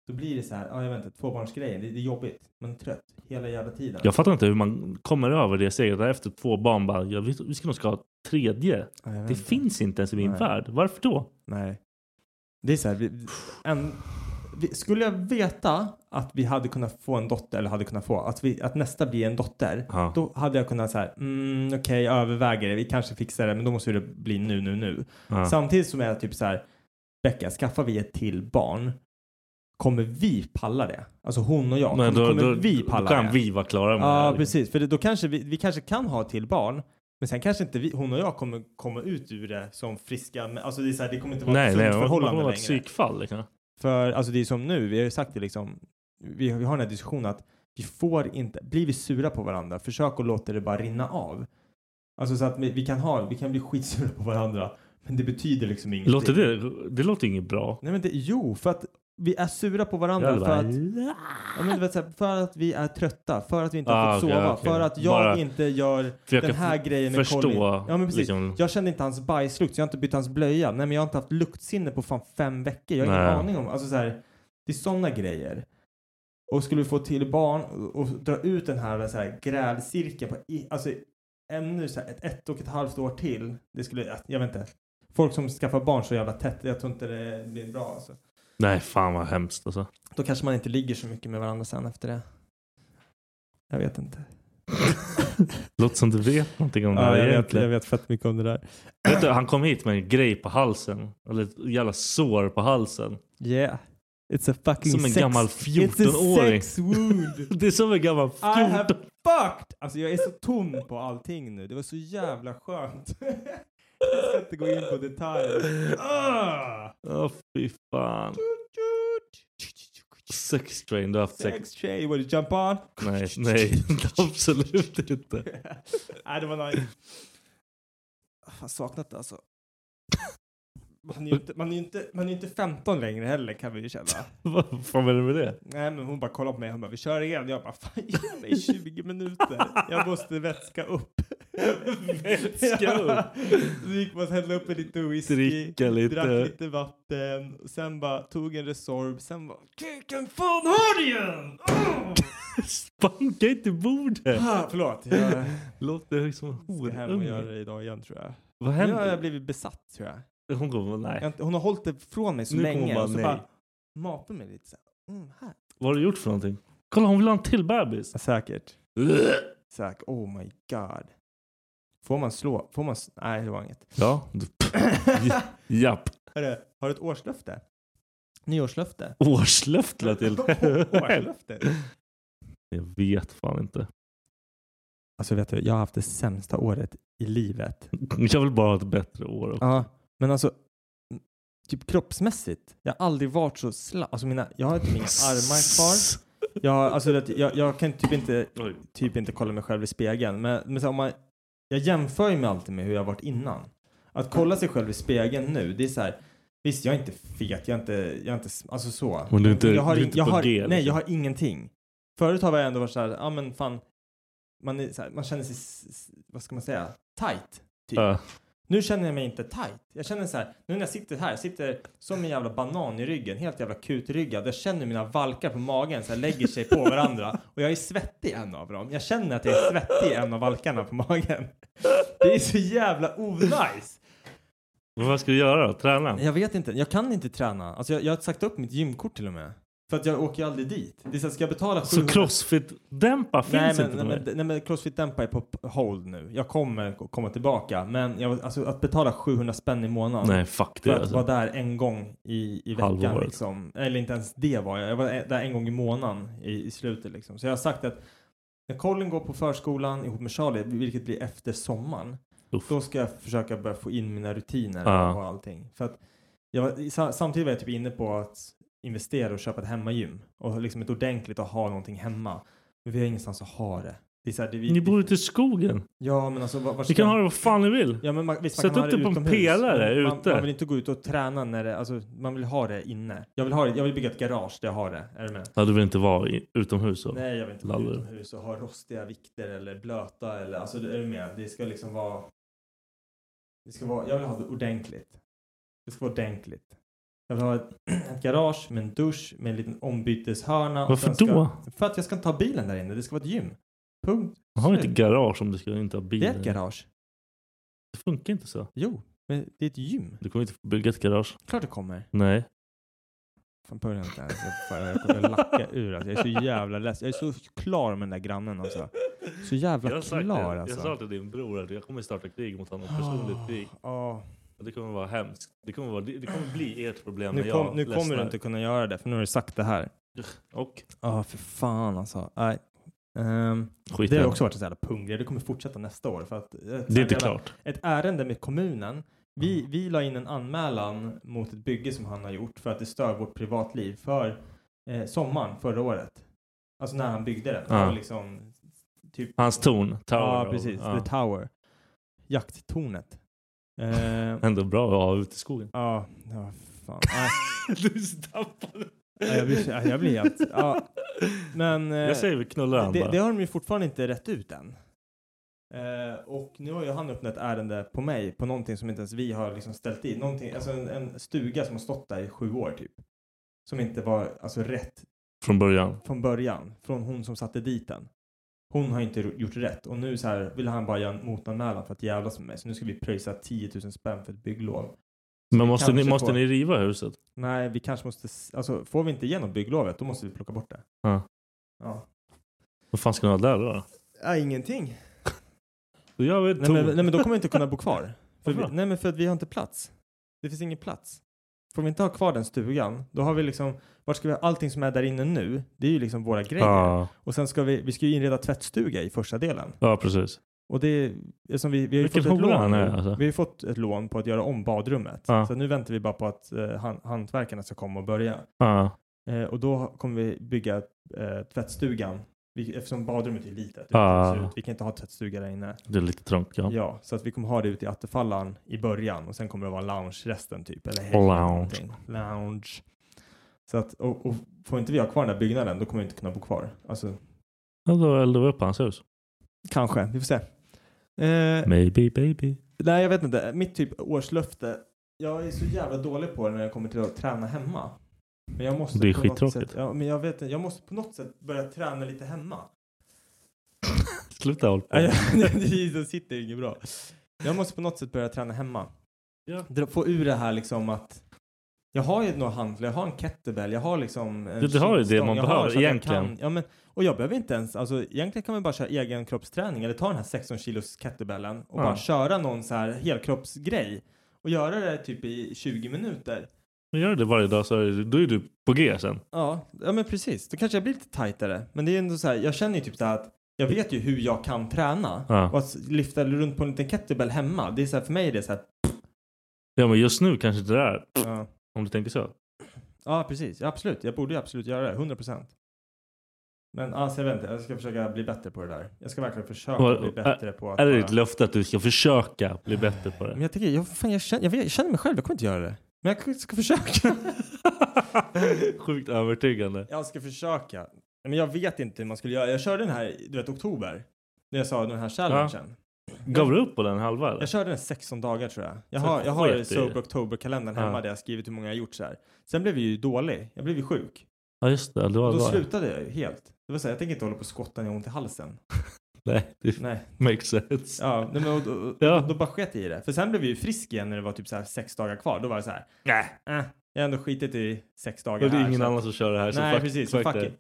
Speaker 4: Då blir det så här, ja jag vet inte, tvåbarnsgrejen, det, det är jobbigt. Men trött hela jävla tiden.
Speaker 2: Jag fattar inte hur man kommer över det steget där efter två barn bara, ja, vi, vi ska nog ska ha ett tredje.
Speaker 4: Ja, jag vet
Speaker 2: Det
Speaker 4: inte.
Speaker 2: finns inte ens i min
Speaker 4: Nej.
Speaker 2: värld. Varför då?
Speaker 4: Nej. Det är så här, vi, en, vi, skulle jag veta att vi hade kunnat få en dotter, eller hade kunnat få, att, vi, att nästa blir en dotter,
Speaker 2: Ja.
Speaker 4: då hade jag kunnat så här, mm, okej, jag överväger det, vi kanske fixar det, men då måste det bli nu, nu, nu.
Speaker 2: Ja.
Speaker 4: Samtidigt som jag typ så här, Becka, skaffar vi ett till barn, kommer vi palla det? Alltså hon och jag,
Speaker 2: Men
Speaker 4: kommer,
Speaker 2: då,
Speaker 4: kommer
Speaker 2: då,
Speaker 4: vi
Speaker 2: då
Speaker 4: palla det?
Speaker 2: kan vi vara klara med det
Speaker 4: Ja,
Speaker 2: här. liksom.
Speaker 4: precis. För det, då kanske vi, vi kanske kan ha ett till barn. Men sen kanske inte vi, hon och jag kommer komma ut ur det som friska. Men, alltså det, är så här, det kommer inte vara ett
Speaker 2: Nej,
Speaker 4: sunt
Speaker 2: nej, man kommer
Speaker 4: förhållande
Speaker 2: vara
Speaker 4: längre.
Speaker 2: ett psykfall. Liksom.
Speaker 4: För alltså det är som nu, vi har ju sagt det liksom. Vi, vi har den här diskussionen att vi får inte, blir vi sura på varandra, försök att låta det bara rinna av. Alltså så att vi, vi kan ha, vi kan bli skitsura på varandra. Men det betyder liksom ingenting.
Speaker 2: Låter det, det låter inget bra.
Speaker 4: Nej men det, jo, för att vi är sura på varandra
Speaker 2: Jag
Speaker 4: för
Speaker 2: bara,
Speaker 4: att Ja, men du vet, så här, för att vi är trötta, för att vi inte har
Speaker 2: Ah,
Speaker 4: fått
Speaker 2: okej,
Speaker 4: sova,
Speaker 2: okej.
Speaker 4: för att jag
Speaker 2: Bara
Speaker 4: inte gör
Speaker 2: försöka
Speaker 4: den här
Speaker 2: f-
Speaker 4: grejen med
Speaker 2: förstå,
Speaker 4: Colin. Ja, men precis.
Speaker 2: liksom.
Speaker 4: Jag kände inte hans bajslukt, så jag har inte bytt hans blöja. Nej, men jag har inte haft luktsinne på fan fem veckor. Jag har
Speaker 2: Nej.
Speaker 4: ingen aning om. Alltså, så här, det är sådana grejer. Och skulle vi få till barn och, och dra ut den här, så här grälcirkeln på i, alltså, ännu så här, ett, ett och ett halvt år till. Det skulle, jag vet inte. Folk som skaffar barn så jävla tätt, jag tror inte det blir bra. Alltså.
Speaker 2: Nej, fan vad hemskt alltså.
Speaker 4: Då kanske man inte ligger så mycket med varandra sen efter det. Jag vet inte.
Speaker 2: <laughs> Låter som du vet någonting om det här egentligen.
Speaker 4: vet fett mycket om det där.
Speaker 2: Vet du, han kom hit med en grej på halsen. Eller ett jävla sår på halsen.
Speaker 4: Yeah. It's a fucking
Speaker 2: Som en
Speaker 4: sex.
Speaker 2: gammal
Speaker 4: It's a
Speaker 2: 14-åring.
Speaker 4: sex wound.
Speaker 2: <laughs> Det är som en gammal
Speaker 4: I have
Speaker 2: 14
Speaker 4: fucked! Alltså jag är så tom på allting nu. Det var så jävla skönt. <laughs> jag ska inte gå in på detaljer. Ah!
Speaker 2: Åh fy fan. Sex train, du har haft sex.
Speaker 4: Sex tjej, what you jump on?
Speaker 2: Nej,
Speaker 4: <laughs>
Speaker 2: nej, absolut inte.
Speaker 4: Nej, det var nice.
Speaker 3: Fan, saknat det alltså. Man är ju inte, man är ju inte, man är ju inte 15 längre heller kan vi ju känna.
Speaker 2: <laughs> Vad fan menar du med det?
Speaker 3: Nej men hon bara kollar på mig och bara vi kör igen. Jag bara fan ge mig 20 minuter. Jag måste vätska upp.
Speaker 2: Vätska
Speaker 3: <laughs>
Speaker 2: upp?
Speaker 3: Så gick man och hällde upp en lite whisky.
Speaker 2: Dricka lite.
Speaker 3: Drack lite vatten. och Sen bara tog en Resorb. Sen bara kuken fan har du igen! Åh!
Speaker 2: <laughs> Spanka inte bordet!
Speaker 3: Ah, förlåt. Jag
Speaker 2: <laughs> Låter som en
Speaker 3: ska hem och göra
Speaker 2: horunge.
Speaker 3: det idag igen tror jag.
Speaker 2: Vad
Speaker 3: Nu har jag
Speaker 2: händer?
Speaker 3: blivit besatt tror jag.
Speaker 2: Hon kommer,
Speaker 3: jag
Speaker 2: nej.
Speaker 3: har inte- hon har hållit det från mig så
Speaker 2: Nu kommer hon
Speaker 3: länge.
Speaker 2: bara,
Speaker 3: och så
Speaker 2: nej.
Speaker 3: bara matar mig lite så här. Mm, här.
Speaker 2: Vad har du gjort för någonting? Kolla hon vill ha en till bebis.
Speaker 3: Säkert. Säkert. Oh my god. Får man slå? Får man... s- Nej, det var inget. <laughs>
Speaker 2: Ja. Japp.
Speaker 3: Hörru, har du ett årslöfte? Nyårslöfte?
Speaker 2: Årslöfte lät till.
Speaker 3: <laughs> årslöfte?
Speaker 2: Jag vet fan inte.
Speaker 3: Alltså vet du, jag har haft det sämsta året i livet.
Speaker 2: Jag vill bara ha ett bättre år.
Speaker 3: Ja, men alltså m- typ kroppsmässigt. Jag har aldrig varit så slapp. Alltså mina, jag har inte mina armar kvar. Jag, har- alltså, vet, du, jag, jag kan typ inte,
Speaker 2: Oj.
Speaker 3: typ inte kolla mig själv i spegeln. Men, men så här, om man, jag jämför ju mig alltid med hur jag har varit innan. Att kolla sig själv i spegeln nu, det är så här. Visst, jag är inte fet, jag är inte, jag är inte s- alltså så.
Speaker 2: Men du är inte-
Speaker 3: jag har,
Speaker 2: du är
Speaker 3: in-
Speaker 2: inte
Speaker 3: jag
Speaker 2: på
Speaker 3: har,
Speaker 2: G, liksom.
Speaker 3: Nej, jag har ingenting. Förut har jag ändå varit så här, ja ah, men fan, man, är, så här, man känner sig, s- s- vad ska man säga, tight. Typ.
Speaker 2: Ja.
Speaker 3: Nu känner jag mig inte tight. Jag känner så här, nu när jag sitter här, jag sitter som en jävla banan i ryggen, helt jävla kutryggad. Jag känner mina valkar på magen så här lägger sig på varandra och jag är svettig i en av dem. Jag känner att jag är svettig i en av valkarna på magen. Det är så jävla onajs.
Speaker 2: Men vad ska du göra då? Träna?
Speaker 3: Jag vet inte, jag kan inte träna. Alltså jag, jag har sagt upp mitt gymkort till och med. För att jag åker ju aldrig dit. Det är så här, ska jag betala 700
Speaker 2: Så crossfit-dämpa finns
Speaker 3: nej, men,
Speaker 2: inte på
Speaker 3: nej,
Speaker 2: mig.
Speaker 3: men, nej men Crossfit Dempa är på p- hold nu. Jag kommer k- komma tillbaka. Men jag, alltså, att betala 700 spänn i månaden.
Speaker 2: Nej, fuck
Speaker 3: För
Speaker 2: det
Speaker 3: att
Speaker 2: alltså.
Speaker 3: vara där en gång i, i veckan.
Speaker 2: Halvåret.
Speaker 3: Liksom. Eller inte ens det var jag. Jag var där en gång i månaden i, i slutet. Liksom. Så jag har sagt att när Colin går på förskolan ihop med Charlie, vilket blir efter sommaren,
Speaker 2: Uff.
Speaker 3: då ska jag försöka börja få in mina rutiner
Speaker 2: Ja.
Speaker 3: och allting. För att jag var, sa- samtidigt var jag typ inne på att investera och köpa ett hemmagym. Och liksom ett ordentligt att ha någonting hemma. Men vi har ingenstans att ha det. det är så här, det, vi,
Speaker 2: Ni bor ute i skogen.
Speaker 3: Ja, men alltså var, var
Speaker 2: Ni kan ha det vad fan ni vill.
Speaker 3: Ja, men man, visst, man
Speaker 2: Sätt
Speaker 3: kan
Speaker 2: upp
Speaker 3: ha
Speaker 2: det på en
Speaker 3: utomhus,
Speaker 2: pelare
Speaker 3: men man,
Speaker 2: ute.
Speaker 3: Man vill inte gå ut och träna när det, alltså man vill ha det inne. Jag vill, ha det, jag vill bygga ett garage där jag har det. Är du med?
Speaker 2: Ja, du vill inte vara i, utomhus så.
Speaker 3: Nej, jag vill inte gå
Speaker 2: Lallar.
Speaker 3: utomhus och ha rostiga vikter eller blöta eller, alltså är du med? Det ska liksom vara, det ska vara, jag vill ha det ordentligt. Det ska vara ordentligt. Jag vill ha ett, <clears throat> ett garage med en dusch, med en liten ombyteshörna. och
Speaker 2: Varför
Speaker 3: sen ska,
Speaker 2: då?
Speaker 3: För att jag ska inte ha bilen där inne, det ska vara ett gym. Punkt.
Speaker 2: Man har inte
Speaker 3: Slut.
Speaker 2: garage om du ska inte ha bil.
Speaker 3: Det är ett garage.
Speaker 2: Det funkar inte så.
Speaker 3: Jo, men det är ett gym.
Speaker 2: Du kommer inte få bygga ett garage.
Speaker 3: Klart det kommer.
Speaker 2: Nej.
Speaker 3: Fan börja inte ens. Jag- fan, Jag kommer lacka ur alltså. Jag är så jävla less. Jag är så klar med den där grannen alltså. Så jävla
Speaker 2: Jag har sagt
Speaker 3: klar
Speaker 2: det.
Speaker 3: alltså.
Speaker 2: Jag sa till din bror att jag kommer starta krig mot honom.
Speaker 3: Ah,
Speaker 2: Personligt krig.
Speaker 3: ah.
Speaker 2: Och Det kommer vara hemskt. Det kommer, vara, det det kommer bli ert problem
Speaker 3: Nu,
Speaker 2: när
Speaker 3: kom,
Speaker 2: jag
Speaker 3: nu kommer du
Speaker 2: ledsnar.
Speaker 3: inte kunna göra det för nu har du sagt det här.
Speaker 2: Och?
Speaker 3: Ja, för fan alltså. Nej. Ehm,
Speaker 2: Skit
Speaker 3: det
Speaker 2: i
Speaker 3: har också varit en sån jävla punggrej. Det kommer fortsätta nästa år. För att, eh, ett
Speaker 2: Det är inte
Speaker 3: jävla-
Speaker 2: klart. Mm.
Speaker 3: Ett ärende med kommunen. Vi, vi la in en anmälan mot ett bygge som han har gjort för att det stör vårt privatliv för eh, sommaren förra året. Alltså när han byggde det.
Speaker 2: Ja.
Speaker 3: Det var liksom, typ,
Speaker 2: Hans torn. Tower.
Speaker 3: ja,
Speaker 2: of-
Speaker 3: precis.
Speaker 2: ja.
Speaker 3: The Tower. Jakttornet. Eh,
Speaker 2: Ändå bra att ha ute i skogen.
Speaker 3: Ja, ja,
Speaker 2: <laughs>
Speaker 3: fan. Nej,
Speaker 2: du stampade.
Speaker 3: nej, jag blir, ja, jag blir helt... Ja. Men eh,
Speaker 2: Jag säger vi knullar han
Speaker 3: det,
Speaker 2: bara.
Speaker 3: det har de ju fortfarande inte rätt ut än. Eh, och nu har ju han öppnat ett ärende på mig på någonting som inte ens vi har liksom ställt i. Någonting, alltså en, en stuga som har stått där i sju år typ. Som inte var alltså, rätt
Speaker 2: Från början.
Speaker 3: från början, från hon som satte dit den. Hon har inte gjort rätt och nu så här vill han bara göra en motanmälan för att jävlas med mig. Så nu ska vi pröjsa 10 000 spänn för ett bygglov.
Speaker 2: Men måste, ni,
Speaker 3: kanske
Speaker 2: måste
Speaker 3: får-
Speaker 2: ni riva huset?
Speaker 3: Nej, vi kanske måste, s- alltså får vi inte igenom bygglovet då måste vi plocka bort det.
Speaker 2: Ja.
Speaker 3: Ja.
Speaker 2: Vad fan ska ni ha där då?
Speaker 3: Ja, ingenting.
Speaker 2: Då gör vi ett
Speaker 3: Nej men,
Speaker 2: torn.
Speaker 3: nej men då kommer vi inte kunna bo kvar. För vi,
Speaker 2: Varför då?
Speaker 3: nej men för att vi har inte plats. Det finns ingen plats. Får vi inte ha kvar den stugan, då har vi liksom, vart ska vi ha allting som är där inne nu? Det är ju liksom våra grejer.
Speaker 2: Ja,
Speaker 3: Och sen ska vi, vi ska ju inreda tvättstuga i första delen.
Speaker 2: ja precis.
Speaker 3: Och det är som vi, vi har ju
Speaker 2: Vilken
Speaker 3: fått ett
Speaker 2: hora
Speaker 3: lån.
Speaker 2: han är,
Speaker 3: nu.
Speaker 2: alltså.
Speaker 3: Vi har ju fått ett lån på att göra om badrummet.
Speaker 2: Ja.
Speaker 3: Så nu väntar vi bara på att eh, han, hantverkarna ska komma och börja.
Speaker 2: Ja.
Speaker 3: Eh, och då kommer vi bygga eh, tvättstugan Vi, eftersom badrummet är litet. du vet
Speaker 2: Ah.
Speaker 3: hur det ser ut. Vi kan inte ha tvättstuga där inne.
Speaker 2: Det är lite trångt ja.
Speaker 3: Ja, så att vi kommer ha det ute i attefallan i början och sen kommer det vara lounge resten typ. Eller häng
Speaker 2: Och
Speaker 3: eller
Speaker 2: lounge.
Speaker 3: någonting. Lounge. Så att, och, och får inte vi ha kvar den där byggnaden då kommer vi inte kunna bo kvar. Alltså,
Speaker 2: ja då eldar vi upp hans hus.
Speaker 3: kanske. Vi får se. Eh,
Speaker 2: Maybe baby.
Speaker 3: nej, jag vet inte. Mitt typ årslöfte. Jag är så jävla dålig på det när jag kommer till att träna hemma. Men jag måste
Speaker 2: Det är
Speaker 3: på något
Speaker 2: skittråkigt.
Speaker 3: sätt- Ja, men jag vet inte. Jag måste på något sätt börja träna lite hemma.
Speaker 2: Sluta hålla på.
Speaker 3: Nej, <laughs> jag- det sitter ju inget bra. Jag måste på något sätt börja träna hemma.
Speaker 2: Ja.
Speaker 3: Dra- Få ur det här liksom att jag har ju några hantlar, jag har en kettlebell, jag har liksom en
Speaker 2: Ja, du har ju det
Speaker 3: kitstång,
Speaker 2: man
Speaker 3: jag
Speaker 2: behöver
Speaker 3: har så att jag
Speaker 2: egentligen.
Speaker 3: Kan, ja, men, och jag behöver inte ens, alltså egentligen kan man bara köra egen kroppsträning eller ta den här 16 kilos kettlebellen och
Speaker 2: Ja.
Speaker 3: bara köra någon så här helkroppsgrej och göra det typ i 20 minuter.
Speaker 2: Men gör du det varje dag så är det, då är du på G sen.
Speaker 3: Ja, ja men precis. Då kanske jag blir lite tajtare. Men det är ändå så här, jag känner ju typ så här att jag vet ju hur jag kan träna.
Speaker 2: Ja.
Speaker 3: Och att lyfta runt på en liten kettlebell hemma, det är så här, för mig är det så här.
Speaker 2: Ja men just nu kanske inte det är
Speaker 3: Ja,
Speaker 2: om du tänker så.
Speaker 3: ja precis. Ja, absolut. Jag borde ju absolut göra det. 100 procent. Men alltså, jag vet inte. Jag ska försöka bli bättre på det där. Jag ska verkligen försöka
Speaker 2: Vad-
Speaker 3: bli bättre på att...
Speaker 2: Är det
Speaker 3: bara-
Speaker 2: ditt löfte att du ska försöka bli bättre på
Speaker 3: Men
Speaker 2: det?
Speaker 3: jag tycker, jag, fan, jag, känner, jag, vet- jag känner mig själv, jag kommer inte göra det. Men jag ska försöka.
Speaker 2: <laughs> Sjukt övertygande.
Speaker 3: Jag ska försöka. Men jag vet inte hur man skulle göra. Jag körde den här, du vet, oktober. När jag sa den här challengen.
Speaker 2: Gav du upp på den halva eller?
Speaker 3: Jag körde den 16 dagar tror jag. Jag
Speaker 2: Så
Speaker 3: har, jag har
Speaker 2: sket i
Speaker 3: Sober
Speaker 2: det.
Speaker 3: October-kalendern hemma
Speaker 2: Ja.
Speaker 3: där jag har skrivit hur många jag har gjort så här. Sen blev jag ju dålig. Jag blev ju sjuk.
Speaker 2: Ja just det, det var
Speaker 3: Då
Speaker 2: det. var.
Speaker 3: slutade jag ju helt. Det var så här, jag tänker inte hålla på och skotta när jag har ont i halsen.
Speaker 2: <laughs> Nej, det
Speaker 3: Nej.
Speaker 2: makes sense.
Speaker 3: Ja, nej men och, och,
Speaker 2: Ja.
Speaker 3: Då, då bara sket jag i det. För sen blev jag ju frisk igen när det var typ så här sex dagar kvar. Då var jag så här,
Speaker 2: Nej.
Speaker 3: äh, jag har ändå skitit i sex
Speaker 2: Det
Speaker 3: dagar
Speaker 2: är
Speaker 3: här.
Speaker 2: ingen
Speaker 3: så att-
Speaker 2: annan som kör det här. så
Speaker 3: Nej,
Speaker 2: fuck-
Speaker 3: precis. så
Speaker 2: fuck
Speaker 3: fuck
Speaker 2: det.
Speaker 3: it.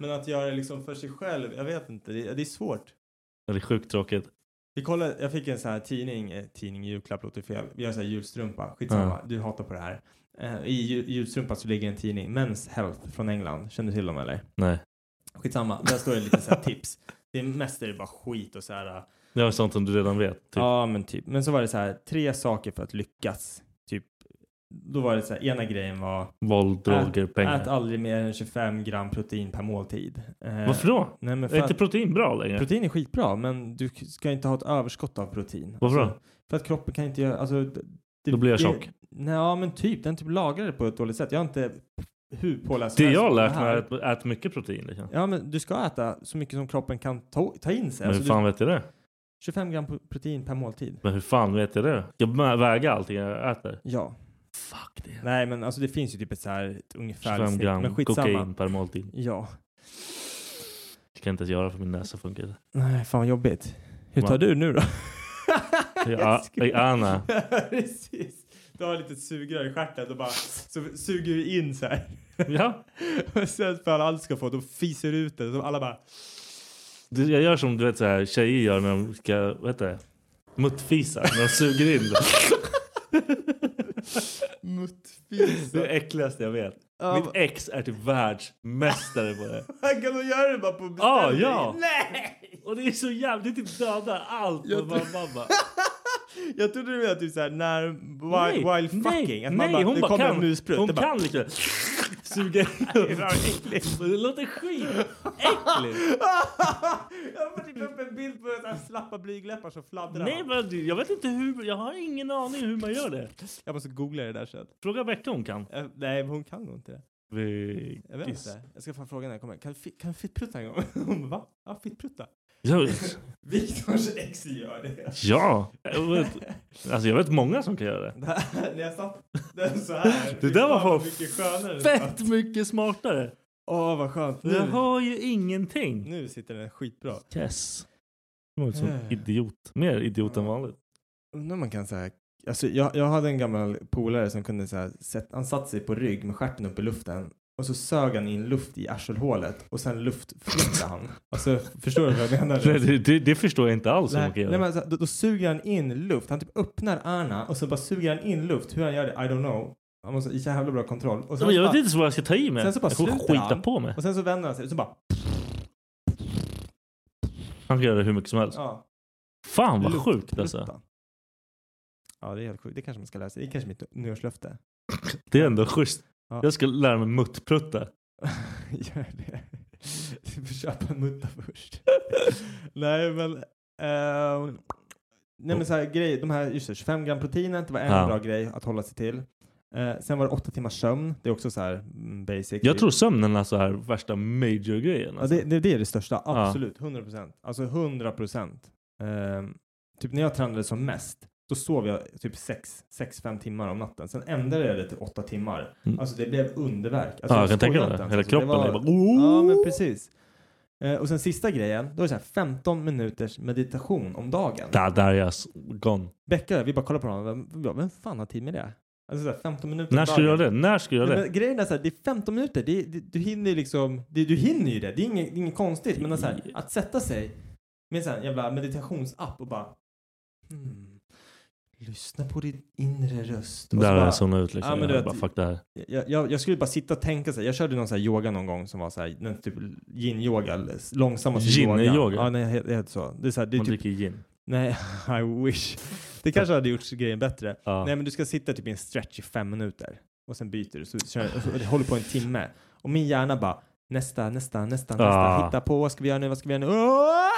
Speaker 3: Men att göra det liksom för sig själv, jag vet inte. Det, det är svårt.
Speaker 2: Ja, Det är sjukt tråkigt.
Speaker 3: Vi kollade, jag fick en sån här tidning, eh, tidning julklapp låter fel. Vi har sån här julstrumpa, skitsamma, du hatar på det här. Eh, I jul, julstrumpa så ligger en tidning, Men's Health från England. Känner du till dem eller?
Speaker 2: Nej.
Speaker 3: Skitsamma, där står det lite så här tips. Det är mest är det bara skit och så här. eh,
Speaker 2: Det var sånt som du redan vet. Typ.
Speaker 3: Ja men typ. Men så var det så här, tre saker för att lyckas. Typ, då var det så här, ena grejen var
Speaker 2: Våld, droger, pengar.
Speaker 3: ät aldrig mer än 25 gram protein per måltid. Eh,
Speaker 2: Varför då?
Speaker 3: Nej, men för
Speaker 2: Är inte
Speaker 3: att,
Speaker 2: protein bra längre?
Speaker 3: protein är skitbra men du ska inte ha ett överskott av protein.
Speaker 2: Varför
Speaker 3: Alltså,
Speaker 2: då?
Speaker 3: för att kroppen kan inte göra... Alltså, d- det,
Speaker 2: Då blir jag
Speaker 3: det-
Speaker 2: tjock.
Speaker 3: Nej, ja, men typ. Den typ lagrar det på ett dåligt sätt. Jag har inte hur påläst
Speaker 2: Det
Speaker 3: som helst
Speaker 2: jag har
Speaker 3: på
Speaker 2: lärt mig
Speaker 3: här.
Speaker 2: är att äta mycket protein. Liksom.
Speaker 3: Ja, men du ska äta så mycket som kroppen kan ta, ta in sig.
Speaker 2: Men hur
Speaker 3: Alltså,
Speaker 2: fan
Speaker 3: du,
Speaker 2: vet jag det?
Speaker 3: 25 gram pro- protein per måltid.
Speaker 2: Men hur fan vet jag det? Ska jag väga allting jag äter?
Speaker 3: Ja.
Speaker 2: Fuck det.
Speaker 3: Nej, men alltså det finns ju typ ett så här ett ungefär
Speaker 2: 25
Speaker 3: snitt, men
Speaker 2: gram
Speaker 3: skitsamma.
Speaker 2: kokain per måltid.
Speaker 3: Ja.
Speaker 2: Det kan jag inte ens göra för min näsa funkar inte.
Speaker 3: Nej, fan vad jobbigt. Hur tar
Speaker 2: Va?
Speaker 3: du nu då?
Speaker 2: <laughs> Ja,
Speaker 3: skulle-
Speaker 2: ja, Anna.
Speaker 3: Precis. Du har lite sugrör i stjärten och bara så suger du in så här.
Speaker 2: Ja,
Speaker 3: Och sen för att allt ska få, då fiser du ut det. Så alla bara...
Speaker 2: du, jag gör som du vet så här, tjejer gör när de ska, vad heter det? Muttfisa, när de suger <laughs> in. Det är
Speaker 3: Muttfisar.
Speaker 2: det äckligaste jag vet.
Speaker 3: Ja,
Speaker 2: Mitt ex är typ världsmästare på det.
Speaker 3: Han kan nog göra det bara på beställning.
Speaker 2: Ja, Ah, ja.
Speaker 3: Nej!
Speaker 2: Och det är så jävligt, det typ dödar allt.
Speaker 3: Jag
Speaker 2: Jag bara, mamma.
Speaker 3: <laughs> Jag trodde du menade typ såhär när... While, while fucking.
Speaker 2: nej, nej, hon
Speaker 3: det
Speaker 2: bara
Speaker 3: kommer
Speaker 2: kan,
Speaker 3: en musprut.
Speaker 2: hon
Speaker 3: Det bara-
Speaker 2: kan
Speaker 3: <laughs>
Speaker 2: liksom suga in. Det låter
Speaker 3: <laughs>
Speaker 2: skitäckligt.
Speaker 3: jag får typ upp en bild på såhär slappa blygläppar som fladdrar.
Speaker 2: Nej, men du, jag vet inte hur, jag har ingen aning hur man gör det.
Speaker 3: Jag måste googla det där sen.
Speaker 2: Fråga Becka om hon kan.
Speaker 3: Eh, Nej, men hon kan nog inte det. Jag vet
Speaker 2: Veggis.
Speaker 3: inte. Jag ska fan fråga när jag kommer. Kan du fi- kan du
Speaker 2: <laughs>
Speaker 3: fittprutta en gång? Hon bara, va? Ja, fittprutta.
Speaker 2: Ja,
Speaker 3: Viktors ex gör det.
Speaker 2: ja. Jag vet, alltså jag vet många som kan göra det.
Speaker 3: Det här- När jag satt den så här.
Speaker 2: Det där var
Speaker 3: fan vad
Speaker 2: fan
Speaker 3: mycket
Speaker 2: <laughs>
Speaker 3: skönare.
Speaker 2: Fett mycket smartare.
Speaker 3: Åh, vad skönt.
Speaker 2: Jag
Speaker 3: Nu,
Speaker 2: har ju ingenting.
Speaker 3: nu sitter den skitbra.
Speaker 2: Yes. Det var som
Speaker 3: Eh.
Speaker 2: idiot. Mer idiot än vanligt.
Speaker 3: Undrar om man kan säga. Alltså, jag, jag hade en gammal polare som kunde så här, sätt, han satt sig på rygg med stjärten upp i luften och så sög han in luft i arselhålet och sen luftflyttade han. Alltså, förstår du vad jag menar?
Speaker 2: Nej, det, det, det förstår jag inte alls hur
Speaker 3: Nej,
Speaker 2: man kan göra.
Speaker 3: nej, men alltså, då, då suger han in luft. Han typ öppnar öronen och så bara suger han in luft. Hur han gör det, I don't know. Han måste ha jävla bra kontroll. Och
Speaker 2: Ja,
Speaker 3: sen,
Speaker 2: men jag
Speaker 3: bara,
Speaker 2: vet inte så vad jag ska ta i mig.
Speaker 3: Sen så bara
Speaker 2: jag kommer
Speaker 3: sluter
Speaker 2: skita
Speaker 3: han.
Speaker 2: på mig.
Speaker 3: och sen så vänder han sig och så bara...
Speaker 2: Han kan göra det hur mycket som helst.
Speaker 3: Ja,
Speaker 2: Fan vad
Speaker 3: luft-
Speaker 2: sjukt alltså.
Speaker 3: lufta. Ja, det är helt sjukt. Det kanske man ska lära sig. Det är kanske mitt nyårslöfte.
Speaker 2: Det är ändå schysst.
Speaker 3: Ja.
Speaker 2: Jag ska lära mig muttprutta.
Speaker 3: Gör det.
Speaker 2: vi får köpa en mutta först. nej men, eh, nej men så här, grej, de här just det, 25 gram proteinen, det var en
Speaker 3: Ja.
Speaker 2: bra grej att hålla sig till. Eh, sen var det åtta timmars sömn, det är också så här mm, basic.
Speaker 3: Jag tror sömnen är så här värsta major-grejen.
Speaker 2: Ja,
Speaker 3: Alltså.
Speaker 2: det, det, det är det största,
Speaker 3: Ja.
Speaker 2: absolut. 100 procent. Alltså 100 procent. typ när jag tränade som mest, då sov jag typ 6-5 timmar om natten. Sen ändrade jag det till 8 timmar.
Speaker 3: Mm.
Speaker 2: Alltså det blev underverk. Alltså,
Speaker 3: ja, jag kan
Speaker 2: skojar
Speaker 3: tänka mig
Speaker 2: inte
Speaker 3: det.
Speaker 2: ens.
Speaker 3: Hela
Speaker 2: Alltså,
Speaker 3: kroppen
Speaker 2: var-
Speaker 3: är bara... Oh!
Speaker 2: Ja, men precis. Eh, och sen sista grejen, då är det så här 15 minuters meditation om dagen.
Speaker 3: Där, där är jag s- gone.
Speaker 2: Becka, vi bara kollar på honom. Vem, ja, vem fan har tid med det? Alltså så här 15 minuter om
Speaker 3: När ska
Speaker 2: dagen.
Speaker 3: jag göra det? När ska jag
Speaker 2: Nej,
Speaker 3: göra det?
Speaker 2: Men grejen är så här, det är 15 minuter. Det, det, du hinner ju liksom, det, du hinner ju det. Det är inget, det är inget konstigt. Men så här, att sätta sig med en sån här jävla meditationsapp och bara hmm, lyssna på din inre röst. Och så
Speaker 3: Där har
Speaker 2: bara,
Speaker 3: jag zonat ut liksom.
Speaker 2: Ja, men du
Speaker 3: jag
Speaker 2: vet-
Speaker 3: bara, fuck det här.
Speaker 2: jag, jag, jag skulle bara sitta och tänka så här. Jag körde någon så här yoga någon gång som var så här, den typ yin-yoga, eller s- långsammaste
Speaker 3: Yin-yoga?
Speaker 2: Ja, nej, helt, helt så. Det är så här, det är
Speaker 3: Man
Speaker 2: typ,
Speaker 3: dricker gin.
Speaker 2: nej, I wish. Det kanske hade gjort grejen bättre.
Speaker 3: Ja.
Speaker 2: Nej men du ska sitta typ i en stretch i fem minuter och sen byter du så kör, och det håller på en timme. Och min hjärna bara nästa, nästa, nästa, nästa,
Speaker 3: Ja.
Speaker 2: hitta på, vad ska vi göra nu, vad ska vi göra nu? Åh!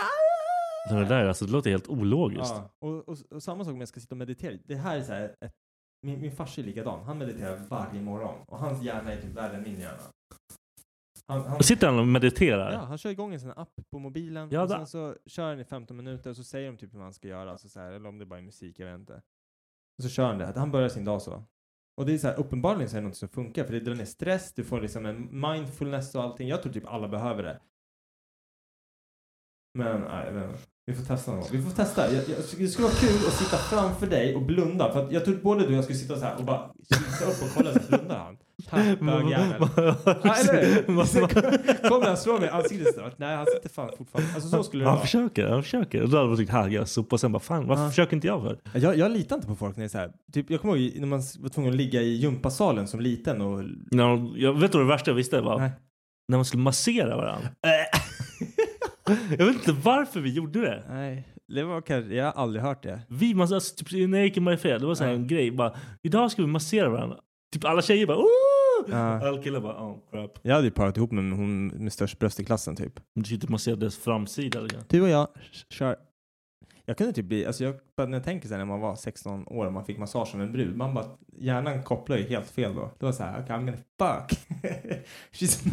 Speaker 3: Det där, är- alltså, det låter helt ologiskt.
Speaker 2: Ja. Och, och, och samma sak om jag ska sitta och meditera. Det här är så här, ett, min, min farsa är likadan, han mediterar varje morgon och hans hjärna är typ värre än min hjärna. Han, han,
Speaker 3: Sitter han och mediterar?
Speaker 2: ja, han kör igång en sån här app på mobilen
Speaker 3: Ja,
Speaker 2: och
Speaker 3: det-
Speaker 2: sen så kör han i 15 minuter och så säger de typ hur man ska göra, alltså så här, eller om det bara är musik, jag vet inte. Och så kör han det, att han börjar sin dag så. Och det är så här, uppenbarligen så är det något som funkar för det drar ner stress, du får liksom en mindfulness och allting. Jag tror typ alla behöver det. Men, nej, jag vet inte. Vi får testa någon gång. Vi får testa. Jag, jag, det skulle vara kul att sitta framför dig och blunda. För att jag tror både du och jag skulle sitta så
Speaker 3: <laughs>
Speaker 2: här och bara kisa upp och kolla så här, blundar han? Tack, bögjävel. Ja, eller hur? Så kom- Kommer han slå mig i ansiktet snart? Nej, han sitter fan fortfarande. Alltså så skulle det
Speaker 3: han
Speaker 2: vara.
Speaker 3: försöker, han försöker. Och Då hade man tyckt, här jag sopa. Sen bara, fan varför
Speaker 2: Ja.
Speaker 3: försöker inte jag för?
Speaker 2: Jag, jag litar inte på folk när det är så här. Typ, jag kommer ihåg när man var tvungen att ligga i gympasalen som liten och...
Speaker 3: När de, jag vet du vad det värsta jag visste var?
Speaker 2: Nej.
Speaker 3: När man skulle
Speaker 2: <laughs>
Speaker 3: massera varandra. jag vet inte varför vi gjorde det.
Speaker 2: Nej, det var kanske... Jag har aldrig hört det.
Speaker 3: Vi, mass- alltså, typ, när jag gick i Marifé, det var så här
Speaker 2: Ja.
Speaker 3: en grej. Bara, idag ska vi massera varandra. Typ alla tjejer bara, Ooh!
Speaker 2: Ja.
Speaker 3: Alla killar bara, oh crap.
Speaker 2: Jag hade ju parat ihop med hon med störst bröst i klassen typ.
Speaker 3: De typ masserade deras framsida. Liksom.
Speaker 2: Du och jag kör. Jag kunde typ bli... Alltså jag, när jag tänker så här när man var 16 år och man fick massage av en brud. Man bara... Hjärnan kopplar ju helt fel då. Det var så här, okay, I'm gonna fuck. <laughs> She's...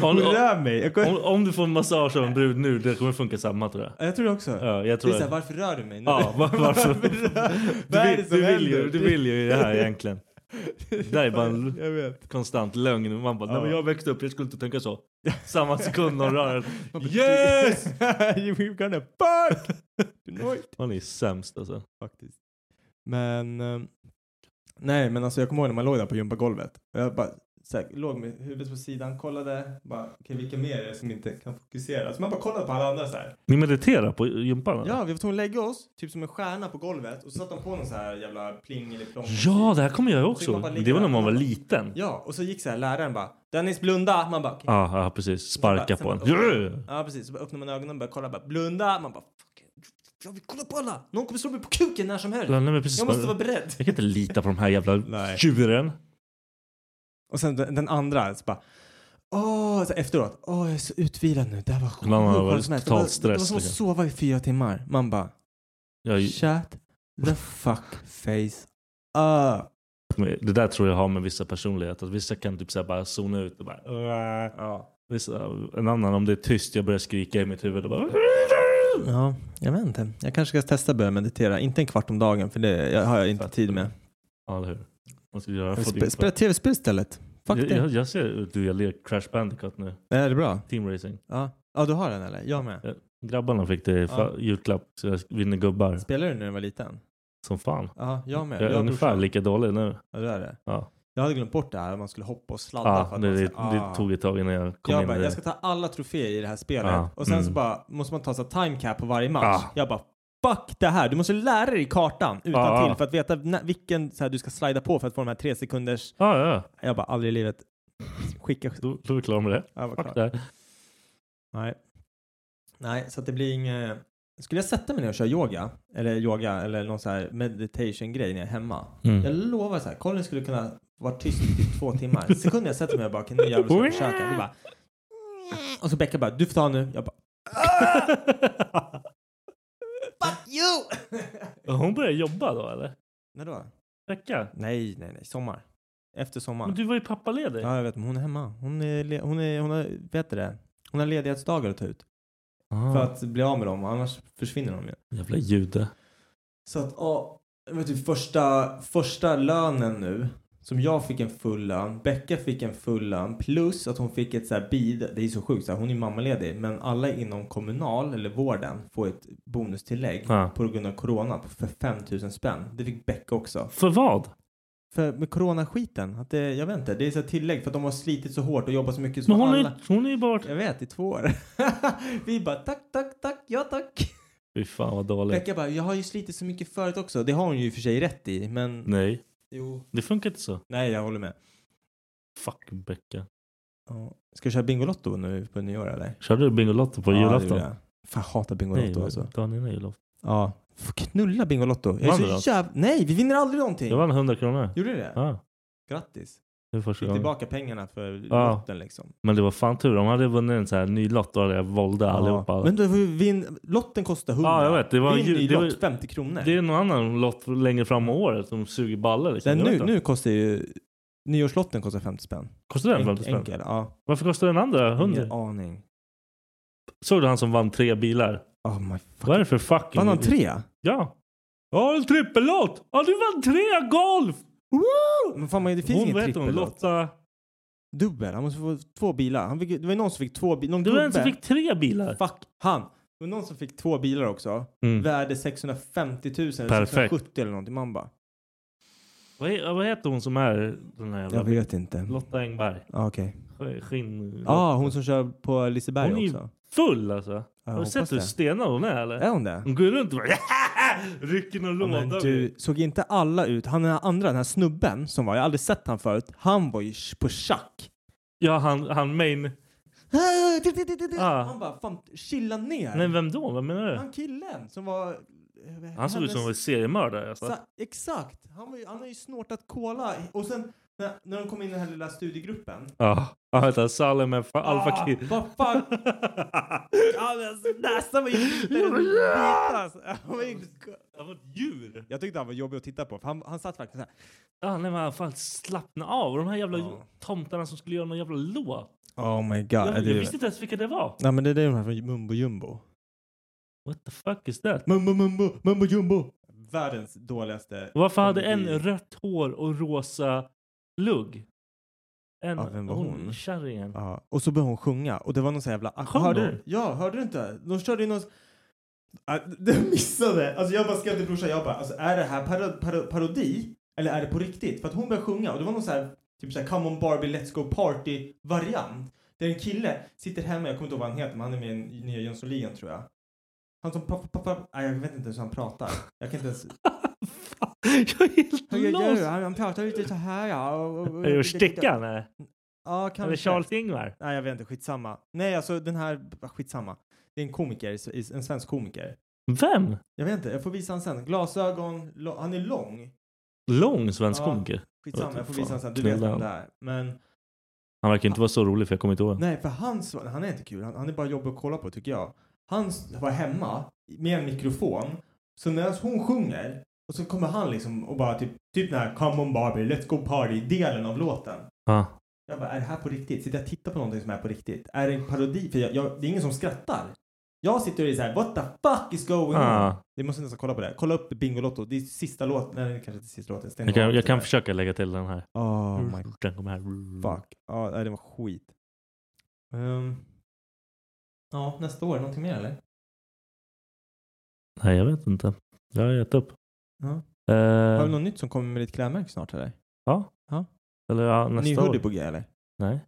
Speaker 2: Hon rör mig. Jag, kommer-
Speaker 3: Om, om du får en massage av en brud nu, det kommer funka samma tror jag.
Speaker 2: Ja, jag tror det också.
Speaker 3: Ja, jag
Speaker 2: Det är
Speaker 3: tror
Speaker 2: så här,
Speaker 3: det.
Speaker 2: varför rör du mig nu?
Speaker 3: Ja, var, varför?
Speaker 2: Varför rör-
Speaker 3: Du,
Speaker 2: <laughs> Vad är det
Speaker 3: vill-
Speaker 2: som
Speaker 3: du, vill ju,
Speaker 2: händer?
Speaker 3: du vill ju det här egentligen. Det där är bara en
Speaker 2: <laughs> Jag vet.
Speaker 3: konstant lögn. Man bara, nej
Speaker 2: Ja.
Speaker 3: men jag växte upp, jag skulle inte tänka så. <laughs> Samma sekund någon rör en.
Speaker 2: Man bara,
Speaker 3: Yes!
Speaker 2: <laughs>
Speaker 3: <laughs>
Speaker 2: We're gonna fuck! Tonight.
Speaker 3: Man är sämst alltså.
Speaker 2: Faktiskt. Men... eh, Nej, men alltså jag kommer ihåg när man låg där på gympagolvet. Och Jag bara så här, låg med huvudet på sidan, kollade. Bara, okej vilka mer är det som inte kan fokusera? Så man bara kollade på alla andra så här.
Speaker 3: Ni mediterar på gympan? eller?
Speaker 2: Ja, vi var tvungna att lägga oss, typ som en stjärna på golvet. Och så satte de på någon så här jävla pling eller plong.
Speaker 3: ja, det här kommer jag
Speaker 2: Så
Speaker 3: också.
Speaker 2: man bara ligger
Speaker 3: Det var när
Speaker 2: där.
Speaker 3: man var liten.
Speaker 2: Ja, och så gick så här läraren bara Dennis blunda! Man bara okej.
Speaker 3: Ja, ja precis. Sparka
Speaker 2: Sen
Speaker 3: på
Speaker 2: bara-
Speaker 3: en.
Speaker 2: sen bara-
Speaker 3: Yeah!
Speaker 2: Ja precis, så bara öppnar man ögonen och börjar kolla bara blunda. Man bara fuck, jag vill kolla på alla! Någon kommer slå mig på kuken när som helst.
Speaker 3: Nej, men precis.
Speaker 2: Jag måste vara beredd.
Speaker 3: Jag kan inte lita på de här jävla
Speaker 2: Nej.
Speaker 3: tjuren.
Speaker 2: Och sen den, den andra så bara Åh, så efteråt. Åh, jag är så utvilad nu. Det här var sjukt.
Speaker 3: Den andra
Speaker 2: skönt
Speaker 3: var
Speaker 2: som helst.
Speaker 3: totalt
Speaker 2: det var, Det var
Speaker 3: stress,
Speaker 2: som att
Speaker 3: liksom.
Speaker 2: sova i fyra timmar. Man bara,
Speaker 3: Jag,
Speaker 2: shut the fuck face up.
Speaker 3: det där tror jag har med vissa personligheter. Att vissa kan typ så här bara zona ut och bara...
Speaker 2: Ja.
Speaker 3: Vissa, eh, en annan om det är tyst, jag börjar skrika i mitt huvud och bara...
Speaker 2: ja, jag vet inte. Jag kanske ska testa att börja meditera. Inte en kvart om dagen för det jag, har jag inte tid med.
Speaker 3: Ja, eller hur? Man ska göra
Speaker 2: Sp-
Speaker 3: för
Speaker 2: Spela tv-spel istället. Fuck
Speaker 3: jag,
Speaker 2: det.
Speaker 3: jag, jag ser ut du, jag ler Crash Bandicoot nu.
Speaker 2: Är det bra?
Speaker 3: Teamracing.
Speaker 2: Ja. ja, du har den eller? Jag med.
Speaker 3: Grabbarna fick det i fa-
Speaker 2: Ja.
Speaker 3: julklapp, så jag vinner gubbar.
Speaker 2: Spelade du när du var liten?
Speaker 3: Som fan.
Speaker 2: Ja, jag med.
Speaker 3: Jag är
Speaker 2: och
Speaker 3: ungefär
Speaker 2: brorsan.
Speaker 3: lika dålig nu.
Speaker 2: Ja, du är det?
Speaker 3: Ja.
Speaker 2: Jag hade glömt bort det här att man skulle hoppa och sladda. för
Speaker 3: Ja,
Speaker 2: att
Speaker 3: det,
Speaker 2: man
Speaker 3: Ah, det,
Speaker 2: ska-
Speaker 3: det tog ett tag innan jag kom
Speaker 2: jag
Speaker 3: in
Speaker 2: bara,
Speaker 3: i
Speaker 2: jag
Speaker 3: det.
Speaker 2: ska ta alla troféer i det här spelet.
Speaker 3: Ja,
Speaker 2: Och sen så
Speaker 3: mm. Ah.
Speaker 2: bara måste man ta så här time cap på varje match.
Speaker 3: Ja.
Speaker 2: Jag bara, fuck det här. Du måste lära dig kartan utan
Speaker 3: Ja.
Speaker 2: till för att veta när, vilken så här, du ska slida på för att få de här tre sekunders.
Speaker 3: Ah, Ja, ja.
Speaker 2: Jag bara, aldrig i livet. Skicka.
Speaker 3: Då, då är vi klara med det.
Speaker 2: Jag var
Speaker 3: Fuck
Speaker 2: klar.
Speaker 3: det.
Speaker 2: Nej. Nej, så att det blir inget. Skulle jag sätta mig ner och köra yoga eller yoga eller någon så här meditation grej när jag är hemma. Jag
Speaker 3: Mm.
Speaker 2: lovar så här, Colin skulle kunna vara tyst i typ två timmar. Sekunden jag sätter mig och bara, okej nu jävlar ska jag försöka. Du bara, Och så Becka bara, du får ta nu. Jag bara,
Speaker 3: Ah!
Speaker 2: Fuck you!
Speaker 4: Hon börjar jobba då eller?
Speaker 2: När då?
Speaker 4: Vecka?
Speaker 2: Nej, nej, nej. Sommar. Efter sommar.
Speaker 4: Men du var ju pappaledig.
Speaker 2: Ja, jag vet. Men hon är hemma. Hon är, le- hon är, hon har, vet du det? Hon har ledighetsdagar att ta ut. För att bli av med dem, annars försvinner de ju.
Speaker 4: Jävla jude.
Speaker 2: Så att, ja. Det var typ första, första lönen nu. Som jag fick en full lön. Becka fick en full lön. Plus att hon fick ett så här bid. Det är så sjukt. Så här, hon är mammaledig. Men alla inom kommunal eller vården får ett bonustillägg.
Speaker 4: Ja.
Speaker 2: På grund av corona. på- För 5 000 spänn. Det fick Becka också.
Speaker 4: För vad?
Speaker 2: För med coronaskiten. Att det, jag vet inte. Det är så här tillägg. För att de har slitit så hårt och jobbat så mycket. Så
Speaker 4: Men hon har
Speaker 2: alla...
Speaker 4: ju, hon har ju bara varit...
Speaker 2: Jag vet, i två år. <laughs> Vi bara tack, tack, tack, ja tack.
Speaker 4: Fy fan vad dåligt.
Speaker 2: Becka bara, jag har ju slitit så mycket förut också. Det har hon ju i och för sig rätt i, men...
Speaker 4: Nej,
Speaker 2: Jo.
Speaker 4: det funkar inte så.
Speaker 2: Nej, jag håller med.
Speaker 4: Fuck Becka.
Speaker 2: Ja. Ska du köra Bingolotto nu på nyår eller?
Speaker 4: Körde du Bingolotto på
Speaker 2: Ja, det
Speaker 4: julafton?
Speaker 2: gjorde jag. Fan, jag hatar
Speaker 4: Nej,
Speaker 2: Bingolotto alltså.
Speaker 4: dagen innan julafton.
Speaker 2: Ja. Får knulla Bingolotto. Jag
Speaker 4: Vann du
Speaker 2: är
Speaker 4: något?
Speaker 2: så jävla... Nej, vi vinner aldrig någonting.
Speaker 4: Jag vann 100 kronor.
Speaker 2: Gjorde du det?
Speaker 4: Ja,
Speaker 2: Grattis.
Speaker 4: det var första
Speaker 2: Fick
Speaker 4: gången.
Speaker 2: tillbaka pengarna för
Speaker 4: Ja.
Speaker 2: lotten liksom.
Speaker 4: Men det var fan tur. Om jag hade vunnit en så här ny lott då hade jag våldat allihopa.
Speaker 2: Ja. Men då får vi vin... lotten kostar 100.
Speaker 4: Ja, jag vet. Det var
Speaker 2: Vinn
Speaker 4: ju-
Speaker 2: i
Speaker 4: det var-
Speaker 2: lott 50 kronor.
Speaker 4: Det är någon annan lott längre fram på året som suger baller. Liksom.
Speaker 2: Den
Speaker 4: Jag vet
Speaker 2: nu,
Speaker 4: inte.
Speaker 2: nu kostar ju... Nyårslotten kostar 50 spänn.
Speaker 4: Kostar den
Speaker 2: Enk-
Speaker 4: 50 spänn?
Speaker 2: Enkel, ja.
Speaker 4: Varför kostar den andra 100?
Speaker 2: Ingen aning.
Speaker 4: Såg du han som vann tre bilar?
Speaker 2: Oh my fuck.
Speaker 4: Vad är det för fucking...
Speaker 2: Vann han tre?
Speaker 4: Ja. Ja, en trippellott! Ja, du vann tre golf! Woo!
Speaker 2: Men fan, man- det finns
Speaker 4: Hon,
Speaker 2: ingen
Speaker 4: vad heter hon?
Speaker 2: trippel.
Speaker 4: Lotta...
Speaker 2: Dubbel. Han måste få två bilar. Han fick, det var ju någon som fick två bilar. Någon
Speaker 4: Det var en
Speaker 2: gubbe.
Speaker 4: som fick tre bilar.
Speaker 2: Fuck han. Det var någon som fick två bilar också.
Speaker 4: Mm.
Speaker 2: Värde 650 000 eller
Speaker 4: Perfekt.
Speaker 2: 670 eller någonting. Man bara.
Speaker 4: Vad, he- vad heter hon som är den här jävla...
Speaker 2: Jag vet inte.
Speaker 4: Lotta Engberg.
Speaker 2: Ah, Okej.
Speaker 4: Sk- Skinn...
Speaker 2: Ja, ah, hon som kör på Liseberg
Speaker 4: Hon är ju-
Speaker 2: också.
Speaker 4: Full alltså.
Speaker 2: Ja,
Speaker 4: Har du
Speaker 2: hoppas
Speaker 4: sett hur
Speaker 2: det.
Speaker 4: stenad hon är eller?
Speaker 2: Är hon det?
Speaker 4: Hon går runt och bara <laughs> rycker någon
Speaker 2: Ja,
Speaker 4: låda.
Speaker 2: Men du, såg inte alla ut? Han den här andra, den här snubben som var, jag har aldrig sett han förut. Han var ju på schack.
Speaker 4: Ja, han, han main...
Speaker 2: Ah, du, du, du, du, du.
Speaker 4: Ah.
Speaker 2: Han bara, fan chilla ner.
Speaker 4: Nej, vem då? Vad menar du?
Speaker 2: Han killen som var... eh,
Speaker 4: Han såg ut som en seriemördare. Alltså.
Speaker 2: Sa- Exakt! Han, var ju, han har ju snortat cola. Och sen när, när de kom in i den här lilla studiegruppen. Ah,
Speaker 4: Ja, ah, vänta. Salem är fa- Alfa Kid.
Speaker 2: Vad
Speaker 4: <laughs>
Speaker 2: fuck! Alltså, Näsan var ju liten. Alltså, han var ju-
Speaker 4: Han var ett djur.
Speaker 2: Jag tyckte han var jobbig att titta på. För han, han satt verkligen så här.
Speaker 4: Ah, nej, men fan slappna av. De här jävla
Speaker 2: Ja.
Speaker 4: tomtarna som skulle göra någon jävla låt.
Speaker 2: Oh my god.
Speaker 4: Jag, jag visste inte ens vilka det var.
Speaker 2: Nej men det är de här från Mumbo Jumbo.
Speaker 4: What the fuck is that?
Speaker 2: Mumbo Mumbo Mumbo Jumbo. Världens dåligaste.
Speaker 4: Varför hade
Speaker 2: komedi.
Speaker 4: en rött hår och rosa lugg? En,
Speaker 2: Ja, vem var hon?
Speaker 4: Kärringen.
Speaker 2: Ja, och så började hon sjunga och det var någon sån jävla...
Speaker 4: Sjöng
Speaker 2: hörde
Speaker 4: hon?
Speaker 2: du? Ja, hörde du inte? De körde ju någon... Ah, <laughs> Du missade! Alltså jag bara skrev till brorsan, jag bara alltså är det här paro- paro- parodi? Eller är det på riktigt? För att hon började sjunga och det var någon sån här typ såhär come on Barbie let's go party variant. Där en kille sitter hemma, jag kommer inte ihåg vad han heter men han är med i nya Jönssonligan tror jag. Han som pappa, pappa, nej jag vet inte ens hur han pratar. Jag kan inte ens...
Speaker 4: jag är helt
Speaker 2: Han gör-
Speaker 4: lost.
Speaker 2: Han han pratar lite så här ja. och- och- och-
Speaker 4: Är det Stickan? eller?
Speaker 2: Ja,
Speaker 4: Eller
Speaker 2: kanske.
Speaker 4: Charles Ingvar?
Speaker 2: Nej, jag vet inte. Skitsamma. Nej, alltså den här... Skitsamma. Det är en komiker, en svensk komiker.
Speaker 4: Vem?
Speaker 2: Jag vet inte, jag får visa han sen. Glasögon, lo- han är lång.
Speaker 4: Lång svensk
Speaker 2: Ja.
Speaker 4: komiker. Jag
Speaker 2: Skitsamma,
Speaker 4: vet
Speaker 2: jag får
Speaker 4: inte
Speaker 2: visa
Speaker 4: fan.
Speaker 2: han sen. Du vet
Speaker 4: Knulla
Speaker 2: vem det är. Men
Speaker 4: Han verkar inte vara så rolig för jag kommer inte ihåg.
Speaker 2: nej, för han, han är inte kul. Han, han är bara jobbig att kolla på tycker jag. Han s- var hemma med en mikrofon. Så när hon sjunger och så kommer han liksom och bara typ, typ den här Come on Barbie, Let's Go Party-delen av låten.
Speaker 4: Ah.
Speaker 2: Jag bara, är det här på riktigt? Sitter jag och tittar på någonting som är på riktigt? Är det en parodi? För jag, jag, det är ingen som skrattar. Jag sitter och är så här, what the fuck is going on?
Speaker 4: Ah.
Speaker 2: Vi måste nästan kolla på det. här. Kolla upp Bingolotto. Det är sista låten. Nej, det kanske inte är sista låten. Stäng
Speaker 4: Jag kan,
Speaker 2: av.
Speaker 4: jag kan försöka lägga till den här.
Speaker 2: Oh my
Speaker 4: Den kommer här.
Speaker 2: fuck. Ja, nej, det var skit. Ehm, ja, nästa år. Någonting mer eller?
Speaker 4: Nej, jag vet inte. Jag har gett upp.
Speaker 2: Ja.
Speaker 4: Eh,
Speaker 2: Har du något nytt som kommer med ditt klädmärke snart eller?
Speaker 4: Eller ja, nästa
Speaker 2: Ny hoodie
Speaker 4: år.
Speaker 2: på G eller?
Speaker 4: Nej.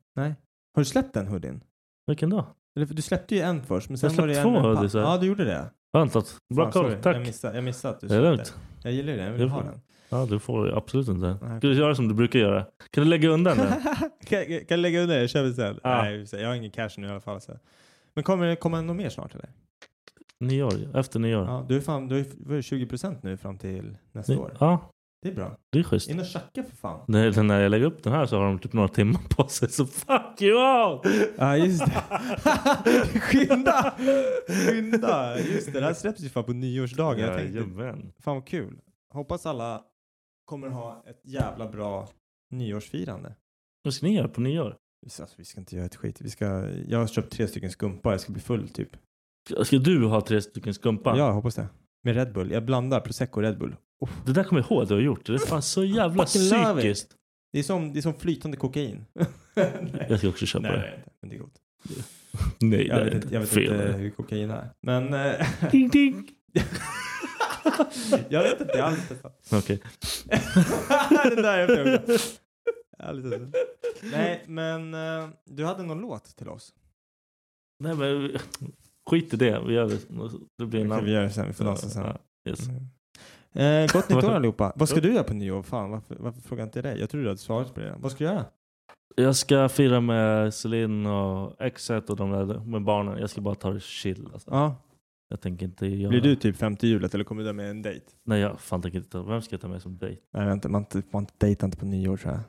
Speaker 2: Har du släppt den hoodien?
Speaker 4: Vilken då?
Speaker 2: Eller, för du släppte ju en först, men sen
Speaker 4: släppte
Speaker 2: var det ju
Speaker 4: två
Speaker 2: en med pa-
Speaker 4: hoodiesar.
Speaker 2: Ja, du gjorde det.
Speaker 4: Väntat. Bra
Speaker 2: Fan,
Speaker 4: koll.
Speaker 2: sorry.
Speaker 4: Tack.
Speaker 2: Jag missade, jag missade att du
Speaker 4: Det är
Speaker 2: släppte.
Speaker 4: lugnt.
Speaker 2: Jag gillar ju den, jag
Speaker 4: Det är
Speaker 2: vill ha
Speaker 4: bra.
Speaker 2: den.
Speaker 4: Ja, du får absolut inte.
Speaker 2: Nej.
Speaker 4: Ska du göra som du brukar göra? Kan du lägga undan den?
Speaker 2: <laughs> kan, kan jag lägga undan det? Jag köper sen.
Speaker 4: Ja.
Speaker 2: Nej, jag har ingen cash nu i alla fall. Så. Men kommer det komma något mer snart eller?
Speaker 4: Nyår. Efter nyår.
Speaker 2: Ja, du är fan, du är, vad är det, 20% nu fram till nästa
Speaker 4: Ny-
Speaker 2: år.
Speaker 4: ja. Det är bra.
Speaker 2: Det är schysst.
Speaker 4: In och tjacka för fan.
Speaker 2: Nej, sen när jag lägger upp den här så har de typ några timmar på sig. Så fuck you all!
Speaker 4: Ja, just det. Skynda! Skynda! Just det, det här släpps ju fan på nyårsdagen. Jag tänkte,
Speaker 2: Jajamän.
Speaker 4: fan vad kul. Hoppas alla kommer ha ett jävla bra nyårsfirande.
Speaker 2: Vad ska ni göra på nyår?
Speaker 4: Så, Alltså, vi ska inte göra ett skit. Vi ska, jag har köpt tre stycken skumpa. Jag ska bli full typ.
Speaker 2: Ska- Ska du ha tre stycken skumpa?
Speaker 4: Ja, jag hoppas det. Med Red Bull. Jag blandar prosecco och Red Bull. Uff.
Speaker 2: Det där kommer jag ihåg att du har gjort. Det är fan så jävla
Speaker 4: Fucking love
Speaker 2: psykiskt.
Speaker 4: Det, är som, det är som flytande kokain. <laughs>
Speaker 2: Jag ska också köpa
Speaker 4: Nej,
Speaker 2: det.
Speaker 4: inte, men det är gott.
Speaker 2: <laughs> Nej,
Speaker 4: Jag
Speaker 2: det är
Speaker 4: vet, inte, jag vet inte
Speaker 2: Fel.
Speaker 4: Eh, hur kokain är. Men eh, <laughs>
Speaker 2: Ding, ding.
Speaker 4: jag vet inte alls. detta. <laughs>
Speaker 2: Okej.
Speaker 4: Den där är jag på. Ärligt talat. Nej, men eh, du hade någon låt till oss.
Speaker 2: Nej, men skit i det. Vi gör det. Det blir en
Speaker 4: Det kan vi
Speaker 2: annan.
Speaker 4: göra det sen. Vi får dansa sen.
Speaker 2: Ja, yes.
Speaker 4: Mm. Eh, gott nytt år allihopa. Vad ska du göra på nyår? Fan, varför, varför frågar jag inte dig? Jag tror du hade svarat på det. Vad ska du göra?
Speaker 2: Jag ska fira med Celine och exet och de där med barnen. Jag ska bara ta det chill. Alltså.
Speaker 4: Ja.
Speaker 2: Jag tänker inte göra...
Speaker 4: Blir du typ femte hjulet eller kommer du där med en dejt?
Speaker 2: Nej, jag fan tänker inte. ta- Vem ska jag ta med som dejt?
Speaker 4: Nej, vänta. Man, man, man dejtar inte på nyår tror jag.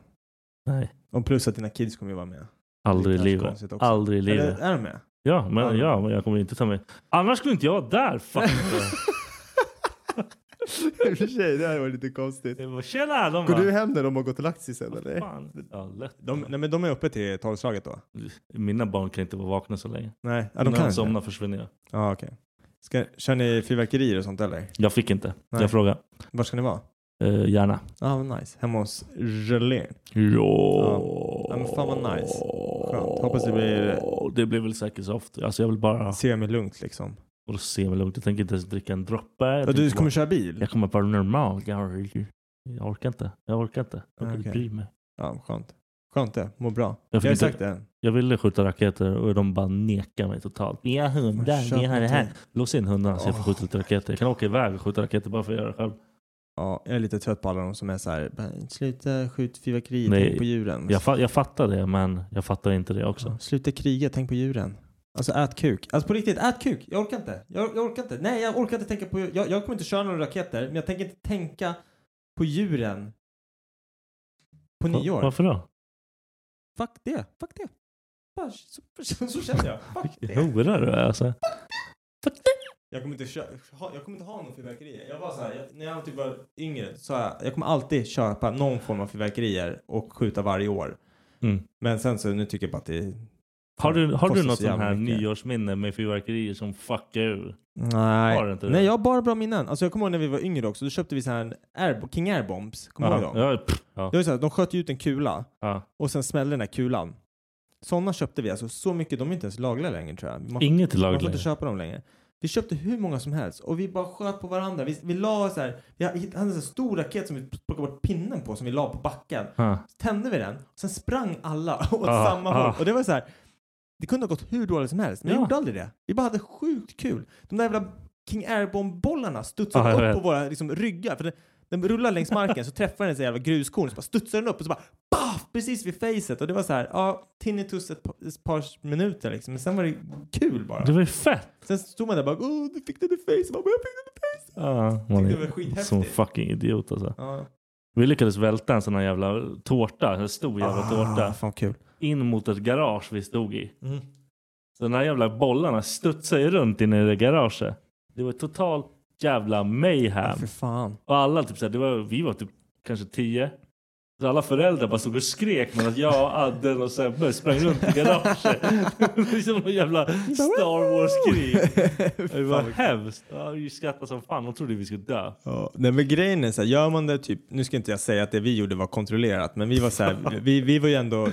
Speaker 2: Nej,
Speaker 4: Och plus att dina kids kommer ju vara med.
Speaker 2: aldrig i
Speaker 4: kanske
Speaker 2: livet.
Speaker 4: konstigt också.
Speaker 2: Aldrig i
Speaker 4: Eller
Speaker 2: livet.
Speaker 4: är de med?
Speaker 2: Ja, men,
Speaker 4: Aldrig.
Speaker 2: ja, men jag kommer inte ta med... Annars skulle inte jag vara där!
Speaker 4: <laughs>
Speaker 2: Fan. <laughs>
Speaker 4: I och för sig, det här var lite konstigt.
Speaker 2: Det var- Tjena! De
Speaker 4: Går
Speaker 2: bara,
Speaker 4: du hem när de har gått och lagt sig sen eller?
Speaker 2: Fan. Ja, lätt.
Speaker 4: De, nej, men de är uppe till tolvslaget då?
Speaker 2: Mina barn kan inte vara vakna så länge.
Speaker 4: Nej, ja, de
Speaker 2: När
Speaker 4: kan
Speaker 2: de
Speaker 4: inte.
Speaker 2: somnar försvinner jag.
Speaker 4: Ja, okej. Ska, kör ni fyrverkerier och sånt eller?
Speaker 2: Jag fick inte.
Speaker 4: Nej.
Speaker 2: Jag frågade.
Speaker 4: Var ska ni vara?
Speaker 2: Eh, gärna.
Speaker 4: Ja, vad nice. Hemma hos Gelén.
Speaker 2: Ja.
Speaker 4: Ja, men fan vad nice. Skönt. Hoppas det blir-
Speaker 2: Det blir väl säkert soft. Alltså jag vill bara...
Speaker 4: Se mig lugnt liksom.
Speaker 2: Och se mig lugnt. Jag tänker inte ens dricka en droppe. Jag,
Speaker 4: Ja, du
Speaker 2: tänker
Speaker 4: kommer
Speaker 2: bara,
Speaker 4: köra bil?
Speaker 2: jag kommer bara normal. Jag, jag orkar inte. Jag orkar inte. Jag orkar inte
Speaker 4: Okej.
Speaker 2: bry mig.
Speaker 4: Ja, skönt. Skönt det. Mår bra. Jag
Speaker 2: Jag fick
Speaker 4: har
Speaker 2: inte-
Speaker 4: sagt det än.
Speaker 2: Jag ville skjuta raketer och de bara nekar mig totalt. Vi har hundar, vi har det här. Lås in hundarna så jag får skjuta lite raketer. Jag kan åka iväg och skjuta raketer bara för att göra det själv.
Speaker 4: Ja, jag är lite trött på alla de som är så här. "Bara, Sluta skjut fyrverkerier,
Speaker 2: Nej,
Speaker 4: tänk på djuren.
Speaker 2: Jag, fa- jag fattar det, men jag fattar inte det också.
Speaker 4: Ja, Sluta kriga, tänk på djuren. Alltså ät kuk. Alltså på riktigt, ät kuk. Jag orkar inte. Jag, jag orkar inte. Nej, jag orkar inte tänka på Jag, jag kommer inte köra några raketer, men jag tänker inte tänka på djuren. På
Speaker 2: Va-
Speaker 4: nyår.
Speaker 2: Varför då?
Speaker 4: Fuck det. Fuck det. Bara, Så, så, så känner jag. Fuck
Speaker 2: Vilken
Speaker 4: det.
Speaker 2: hora du är alltså.
Speaker 4: Jag kommer inte, kö- ha, jag kommer inte ha någon fyrverkerier. Jag var så här, jag, när jag typ var yngre så sa jag, jag kommer alltid köpa någon form av fyrverkerier och skjuta varje år.
Speaker 2: Mm.
Speaker 4: Men sen så, nu tycker jag bara att det
Speaker 2: Har du, har
Speaker 4: Kostar
Speaker 2: du
Speaker 4: så
Speaker 2: något sånt
Speaker 4: jävla
Speaker 2: här
Speaker 4: mycket.
Speaker 2: nyårsminne med fyrverkerier som fuckar ur?
Speaker 4: Nej.
Speaker 2: Har du inte det?
Speaker 4: Nej, jag har bara bra minnen. Alltså jag kommer ihåg när vi var yngre också, då köpte vi så här en Air, King Air Bombs. Kommer du ihåg dem?
Speaker 2: ja,
Speaker 4: <laughs>
Speaker 2: pff,
Speaker 4: Det var så här, de sköt ju ut en kula
Speaker 2: ja.
Speaker 4: och sen smällde den här kulan. Sådana köpte vi, alltså så mycket, de är inte ens lagliga längre tror jag. Man, får-
Speaker 2: Inget
Speaker 4: man
Speaker 2: lag
Speaker 4: får inte
Speaker 2: längre.
Speaker 4: köpa dem längre. Vi köpte hur många som helst och vi bara sköt på varandra. Vi, vi la så här, vi hade en så här stor raket som vi plockade bort pinnen på som vi la på backen.
Speaker 2: Ja.
Speaker 4: Tände vi den, sen sprang alla <laughs> åt
Speaker 2: Ah,
Speaker 4: samma håll.
Speaker 2: ah.
Speaker 4: Och det var så här, det kunde ha gått hur dåligt som helst, men vi
Speaker 2: Ja.
Speaker 4: gjorde aldrig det. Vi bara hade sjukt kul. De där jävla King Airbomb-bollarna studsade
Speaker 2: Ja, jag
Speaker 4: upp
Speaker 2: vet.
Speaker 4: på våra liksom, ryggar. För den, den rullar längs marken, så träffar den så jävla gruskorn, så bara studsar den upp och så bara BAF! Precis vid facet. Och det var så här, ja, tinnitus ett par, ett par minuter liksom. Men sen var det kul bara.
Speaker 2: Det var ju fett!
Speaker 4: Sen stod man där bara, åh, du fick den i face. Man bara, jag fick den i face.
Speaker 2: Ja, man
Speaker 4: Tyckte det var
Speaker 2: är
Speaker 4: skithäftigt.
Speaker 2: som en fucking idiot alltså.
Speaker 4: Ja.
Speaker 2: Vi lyckades välta en sån här jävla tårta, en stor jävla tårta,
Speaker 4: Ah, fan kul.
Speaker 2: in mot ett garage vi stod i.
Speaker 4: Mm.
Speaker 2: Så de här jävla bollarna studsade ju runt inne i det garaget. Det var total jävla mayhem.
Speaker 4: För fan.
Speaker 2: Och alla typ såhär, det var, vi var typ kanske tio. Så alla föräldrar bara stod och skrek medan jag, Adden och Sebbe sprang runt i garaget. <laughs> Det var som någon jävla Star Wars-krig. Det var hemskt. Ja, vi skrattade som fan. De trodde vi skulle dö.
Speaker 4: Ja, nej men grejen är så här, gör man det typ, nu ska inte jag säga att det vi gjorde var kontrollerat, men vi var så
Speaker 2: <laughs>
Speaker 4: här, vi, vi var ju ändå,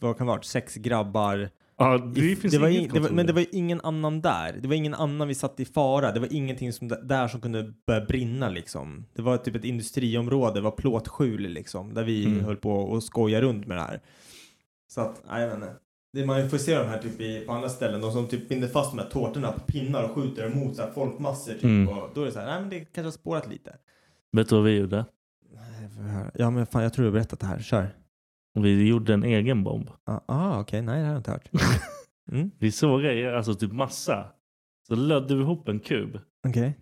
Speaker 4: vad kan det ha varit, sex grabbar.
Speaker 2: Ja, det finns
Speaker 4: Det var in,
Speaker 2: inget
Speaker 4: det var,
Speaker 2: kontroll.
Speaker 4: men det var ju ingen annan där. Det var ingen annan vi satt i fara. Det var ingenting som, där som kunde börja brinna liksom. Det var typ ett industriområde, det var plåtskjul liksom, där vi
Speaker 2: Mm.
Speaker 4: höll på och skoja runt med det här. Så att, nej jag vet inte. Det, man får se de här typ i, på andra ställen, de som typ binder fast de här tårtorna på pinnar och skjuter emot så här folkmassor typ.
Speaker 2: Mm.
Speaker 4: Och då är det så här, nej men det kanske har spårat lite.
Speaker 2: Vet du vad vi gjorde?
Speaker 4: Nej, får jag höra. Ja men fan jag tror du har berättat det här, kör.
Speaker 2: Vi gjorde en egen bomb.
Speaker 4: Ah, ah okej, nej det har jag inte
Speaker 2: <laughs>
Speaker 4: hört. Mm.
Speaker 2: Vi sågade i, alltså typ massa. Så lödde vi ihop en kub.
Speaker 4: Okej.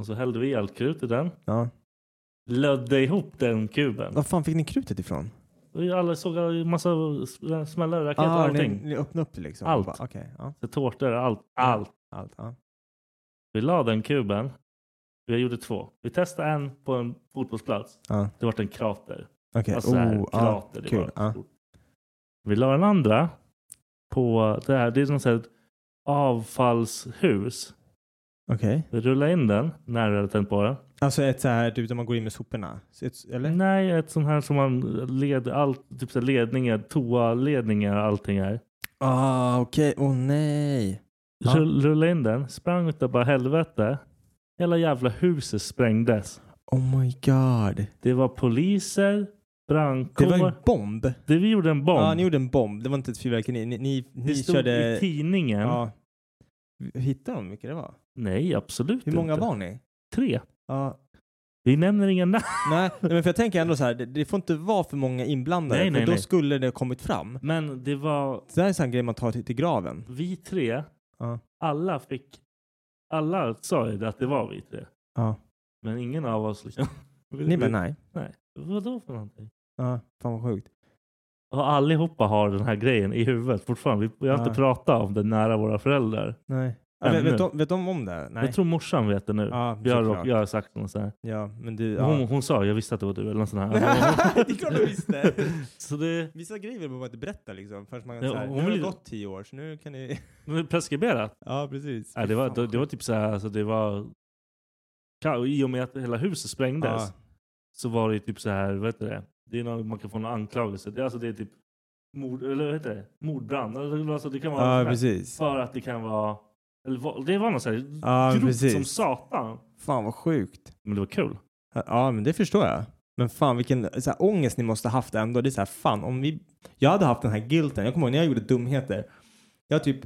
Speaker 2: Och så hällde vi allt krut i den.
Speaker 4: Ja.
Speaker 2: lödde ihop den kuben.
Speaker 5: Var fan fick ni krutet ifrån?
Speaker 2: Och Alla såg en massa s- smällar, raketer,
Speaker 5: Ah, ni,
Speaker 2: allting.
Speaker 5: ni öppnade upp det liksom?
Speaker 2: Allt.
Speaker 5: Bara, Okej, ja.
Speaker 2: Så tårtor, allt. allt.
Speaker 5: Allt, ja.
Speaker 2: Vi la den kuben. Vi gjorde två. Vi testade en på en fotbollsplats.
Speaker 5: Ja.
Speaker 2: Det vart en krater.
Speaker 5: Okej,
Speaker 2: Alltså så här,
Speaker 5: oh, ja,
Speaker 2: krater. det
Speaker 5: kul,
Speaker 2: var
Speaker 5: ja.
Speaker 2: stort. Vi la den andra på det här. Det är som så här ett avfallshus.
Speaker 5: Okej.
Speaker 2: Vi rullade in den när vi hade tänt på den.
Speaker 5: Alltså ett så här, typ där man går in med soporna? Så Ett, eller?
Speaker 2: Nej, ett sånt här som man led, allt, typ så här ledningar, toaledningar och allting här.
Speaker 5: Ah, okej. Åh nej. Ja.
Speaker 2: Rull, rullade in den, sprang utav bara helvete. Hela jävla huset sprängdes.
Speaker 5: Oh my god.
Speaker 2: Det var poliser,
Speaker 5: Det
Speaker 2: brandkår.
Speaker 5: var en bomb.
Speaker 2: Det, vi gjorde en bomb.
Speaker 5: Ja, ni gjorde en bomb. Det var inte ett fyrverkeri. Ni, ni,
Speaker 2: det
Speaker 5: ni
Speaker 2: stod
Speaker 5: körde...
Speaker 2: i tidningen.
Speaker 5: Ja. Hittade de hur mycket det var?
Speaker 2: Nej, absolut
Speaker 5: Hur många
Speaker 2: inte.
Speaker 5: var ni?
Speaker 2: Tre.
Speaker 5: Ja.
Speaker 2: Vi nämner inga namn.
Speaker 5: Nej, nej, men för jag tänker ändå så här, det, det får inte vara för många inblandade
Speaker 2: Nej,
Speaker 5: för
Speaker 2: nej,
Speaker 5: då
Speaker 2: nej.
Speaker 5: skulle det ha kommit fram.
Speaker 2: Men det var
Speaker 5: Så det här är en sån grej man tar till, till graven.
Speaker 2: vi tre.
Speaker 5: Ja.
Speaker 2: Alla fick... Alla sa ju att det var vi tre.
Speaker 5: Ja.
Speaker 2: Men ingen av oss liksom... <laughs>
Speaker 5: Ni bara nej.
Speaker 2: Nej. Vadå för någonting?
Speaker 5: Ja, fan vad sjukt.
Speaker 2: Och allihopa har den här grejen i huvudet fortfarande. Vi, vi har
Speaker 5: Ja.
Speaker 2: inte pratat om det nära våra föräldrar.
Speaker 5: Nej. Ja,
Speaker 2: Ännu.
Speaker 5: vet, vet, de, vet de om det? Nej.
Speaker 2: Jag tror morsan vet det nu.
Speaker 5: ja,
Speaker 2: jag, har,
Speaker 5: såklart.
Speaker 2: jag har sagt något så här.
Speaker 5: Ja, men du...
Speaker 2: Hon,
Speaker 5: Ja.
Speaker 2: hon sa jag visste att det var du eller något
Speaker 5: <laughs>
Speaker 2: sånt
Speaker 5: det
Speaker 2: här.
Speaker 5: är klart de visste.
Speaker 2: <laughs> så det
Speaker 5: Vissa grejer vill man bara inte berätta liksom. Förrän man
Speaker 2: Ja,
Speaker 5: ja, så här,
Speaker 2: hon
Speaker 5: nu har det
Speaker 2: vill-
Speaker 5: gått tio år så nu kan
Speaker 2: <laughs>
Speaker 5: ni...
Speaker 2: det är preskriberat.
Speaker 5: ja, precis.
Speaker 2: Ja, det, var, det, det var typ så här, alltså det var... ka- I och med att hela huset sprängdes
Speaker 5: Ja.
Speaker 2: så var det ju typ så här, vad heter det? det är någon, man kan få någon anklagelse. Det, är alltså det är typ mord, eller vad heter det? Mordbrand. Eller, Alltså det kan vara
Speaker 5: Ja,
Speaker 2: sån här-
Speaker 5: precis.
Speaker 2: för att det kan vara... Eller, vad- det var något så här
Speaker 5: Ja,
Speaker 2: grovt
Speaker 5: precis.
Speaker 2: som satan.
Speaker 5: Fan vad sjukt.
Speaker 2: Men det var kul.
Speaker 5: Ja, men det förstår jag. Men fan vilken så här, ångest ni måste haft ändå. Det är så här, fan om vi... Jag hade haft den här guilten. Jag kommer ihåg när jag gjorde dumheter. Jag typ...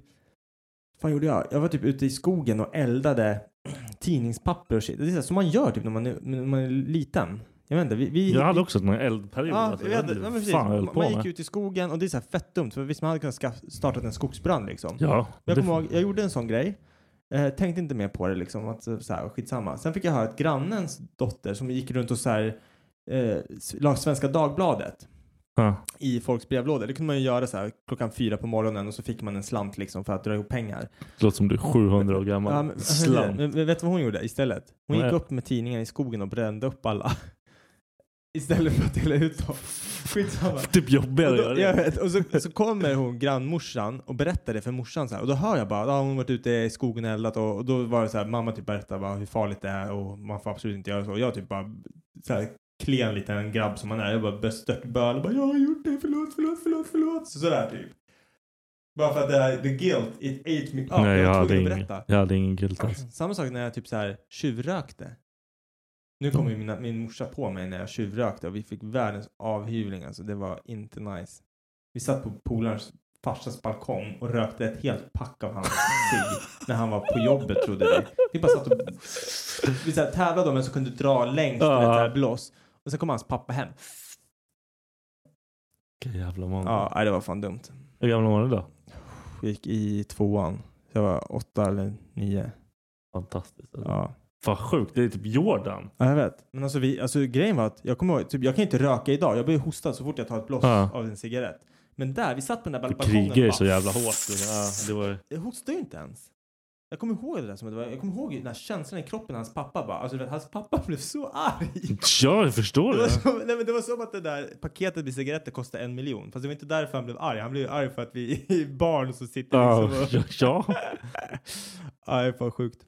Speaker 5: fan gjorde jag? Jag var typ ute i skogen och eldade <clears throat> tidningspapper och shit. Det är så här, som man gör typ när man är, när man är liten. Jag vet inte, vi... vi
Speaker 2: Jag hade också en eldperiod.
Speaker 5: Ja,
Speaker 2: alltså.
Speaker 5: vi
Speaker 2: Jag vet
Speaker 5: hade,
Speaker 2: inte
Speaker 5: ja, men
Speaker 2: vad
Speaker 5: precis.
Speaker 2: fan jag höll
Speaker 5: Man,
Speaker 2: på
Speaker 5: man
Speaker 2: med.
Speaker 5: gick ut i skogen och det är så här fett dumt. För visst, man hade kunnat skaffa- startat en skogsbrand liksom.
Speaker 2: Ja,
Speaker 5: Men jag
Speaker 2: det-
Speaker 5: kommer ihåg, jag gjorde en sån grej. Eh, tänkte inte mer på det liksom. Att, eh, så här, skitsamma. Sen fick jag höra att grannens dotter som gick runt och så här, eh, s- la Svenska Dagbladet
Speaker 2: Ja.
Speaker 5: i folks brevlådor. Det kunde man ju göra så här klockan fyra på morgonen och så fick man en slant liksom för att dra ihop pengar.
Speaker 2: Det låter som du är 700 år gammal.
Speaker 5: Ja, men,
Speaker 2: Slam.
Speaker 5: men, men vet du vad hon gjorde istället? Hon
Speaker 2: Nej.
Speaker 5: gick upp med tidningar i skogen och brände upp alla. <laughs> Istället för att dela ut dem. Skitsamma.
Speaker 2: Typ jobbigare
Speaker 5: Och
Speaker 2: att
Speaker 5: då- jag
Speaker 2: göra det.
Speaker 5: vet, och så, så kommer hon, grannmorsan, och berättar det för morsan så här. Och då hör jag bara, ja, hon har varit ute i skogen och eldat och, och då var det så här, mamma typ berättar bara hur farligt det är och man får absolut inte göra så. Och jag typ bara, så här, klen liten grabb som man är, jag bara bestörtböl och bara, jag har gjort det, förlåt, förlåt, förlåt, förlåt. Så, sådär typ. Bara för att det är the guilt, it ate me up.
Speaker 2: Nej,
Speaker 5: jag
Speaker 2: jag,
Speaker 5: var
Speaker 2: hade
Speaker 5: tvungen att
Speaker 2: ingen,
Speaker 5: berätta.
Speaker 2: jag hade ingen gult
Speaker 5: <clears throat>
Speaker 2: alls.
Speaker 5: Samma sak när jag typ så här tjuvrökte. Nu kom ju
Speaker 2: Mm.
Speaker 5: mina, min morsa på mig när jag tjuvrökte och vi fick världens avhyvling. Alltså det var inte nice. Vi satt på polarens farsas balkong och rökte ett helt pack av hans cigg när han var på jobbet trodde vi. Vi bara satt och vi så här tävlade om vem som kunde dra längst
Speaker 2: Ja.
Speaker 5: uh. ett så här blås. Och sen kom hans pappa hem.
Speaker 2: Vilken jävla måndag.
Speaker 5: Ja, nej, det var fan dumt.
Speaker 2: Hur gammal var du då?
Speaker 5: Jag gick i tvåan. Så jag var åtta eller nio.
Speaker 2: Fantastiskt. alltså.
Speaker 5: Ja.
Speaker 2: Fan sjukt, det är typ Jordan.
Speaker 5: Ja, jag vet. Men alltså, vi, alltså grejen var att jag kommer ihåg, typ, jag kan inte röka idag. Jag börjar hosta så fort jag tar ett blås
Speaker 2: Ja.
Speaker 5: av en cigarett. Men där, vi satt på den där
Speaker 2: Du
Speaker 5: balkongen
Speaker 2: krigar ju
Speaker 5: bara-
Speaker 2: så
Speaker 5: <laughs>
Speaker 2: jävla hårt. Ja, det var...
Speaker 5: Jag hostade ju inte ens. Jag kommer ihåg det där som att det var, jag kommer ihåg den här känslan i kroppen när hans pappa bara, alltså du vet, hans pappa <laughs> blev så arg.
Speaker 2: ja jag förstår
Speaker 5: Det
Speaker 2: det.
Speaker 5: var, som, nej, men det var som att det där paketet med cigaretter kostade en miljon. Fast det var inte därför han blev arg. Han blev ju arg för att vi <laughs> är barn som sitter
Speaker 2: Ja,
Speaker 5: liksom och...
Speaker 2: ja, ja.
Speaker 5: <laughs> ja, det är fan sjukt.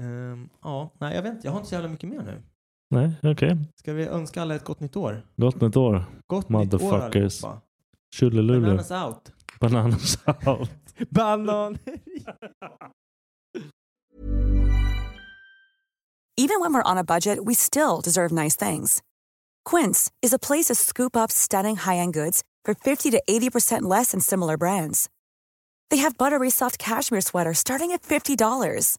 Speaker 5: Ehm, ja, nej jag vet inte. Jag har inte så jävla mycket mer nu.
Speaker 2: Nej, okej.
Speaker 5: Ska vi önska alla ett gott nytt år?
Speaker 2: Gott nytt år.
Speaker 5: Gott
Speaker 2: Motherfuckers.
Speaker 5: nytt år allihopa.
Speaker 2: Tjolilulu.
Speaker 5: Bananas out.
Speaker 2: Bananas out.
Speaker 5: <laughs> Banan.
Speaker 6: Even when we're on a budget, we still deserve nice things. Quince is a place to scoop up stunning high end goods for 50 to 80% less than similar brands. They have buttery soft cashmere sweaters starting at $50,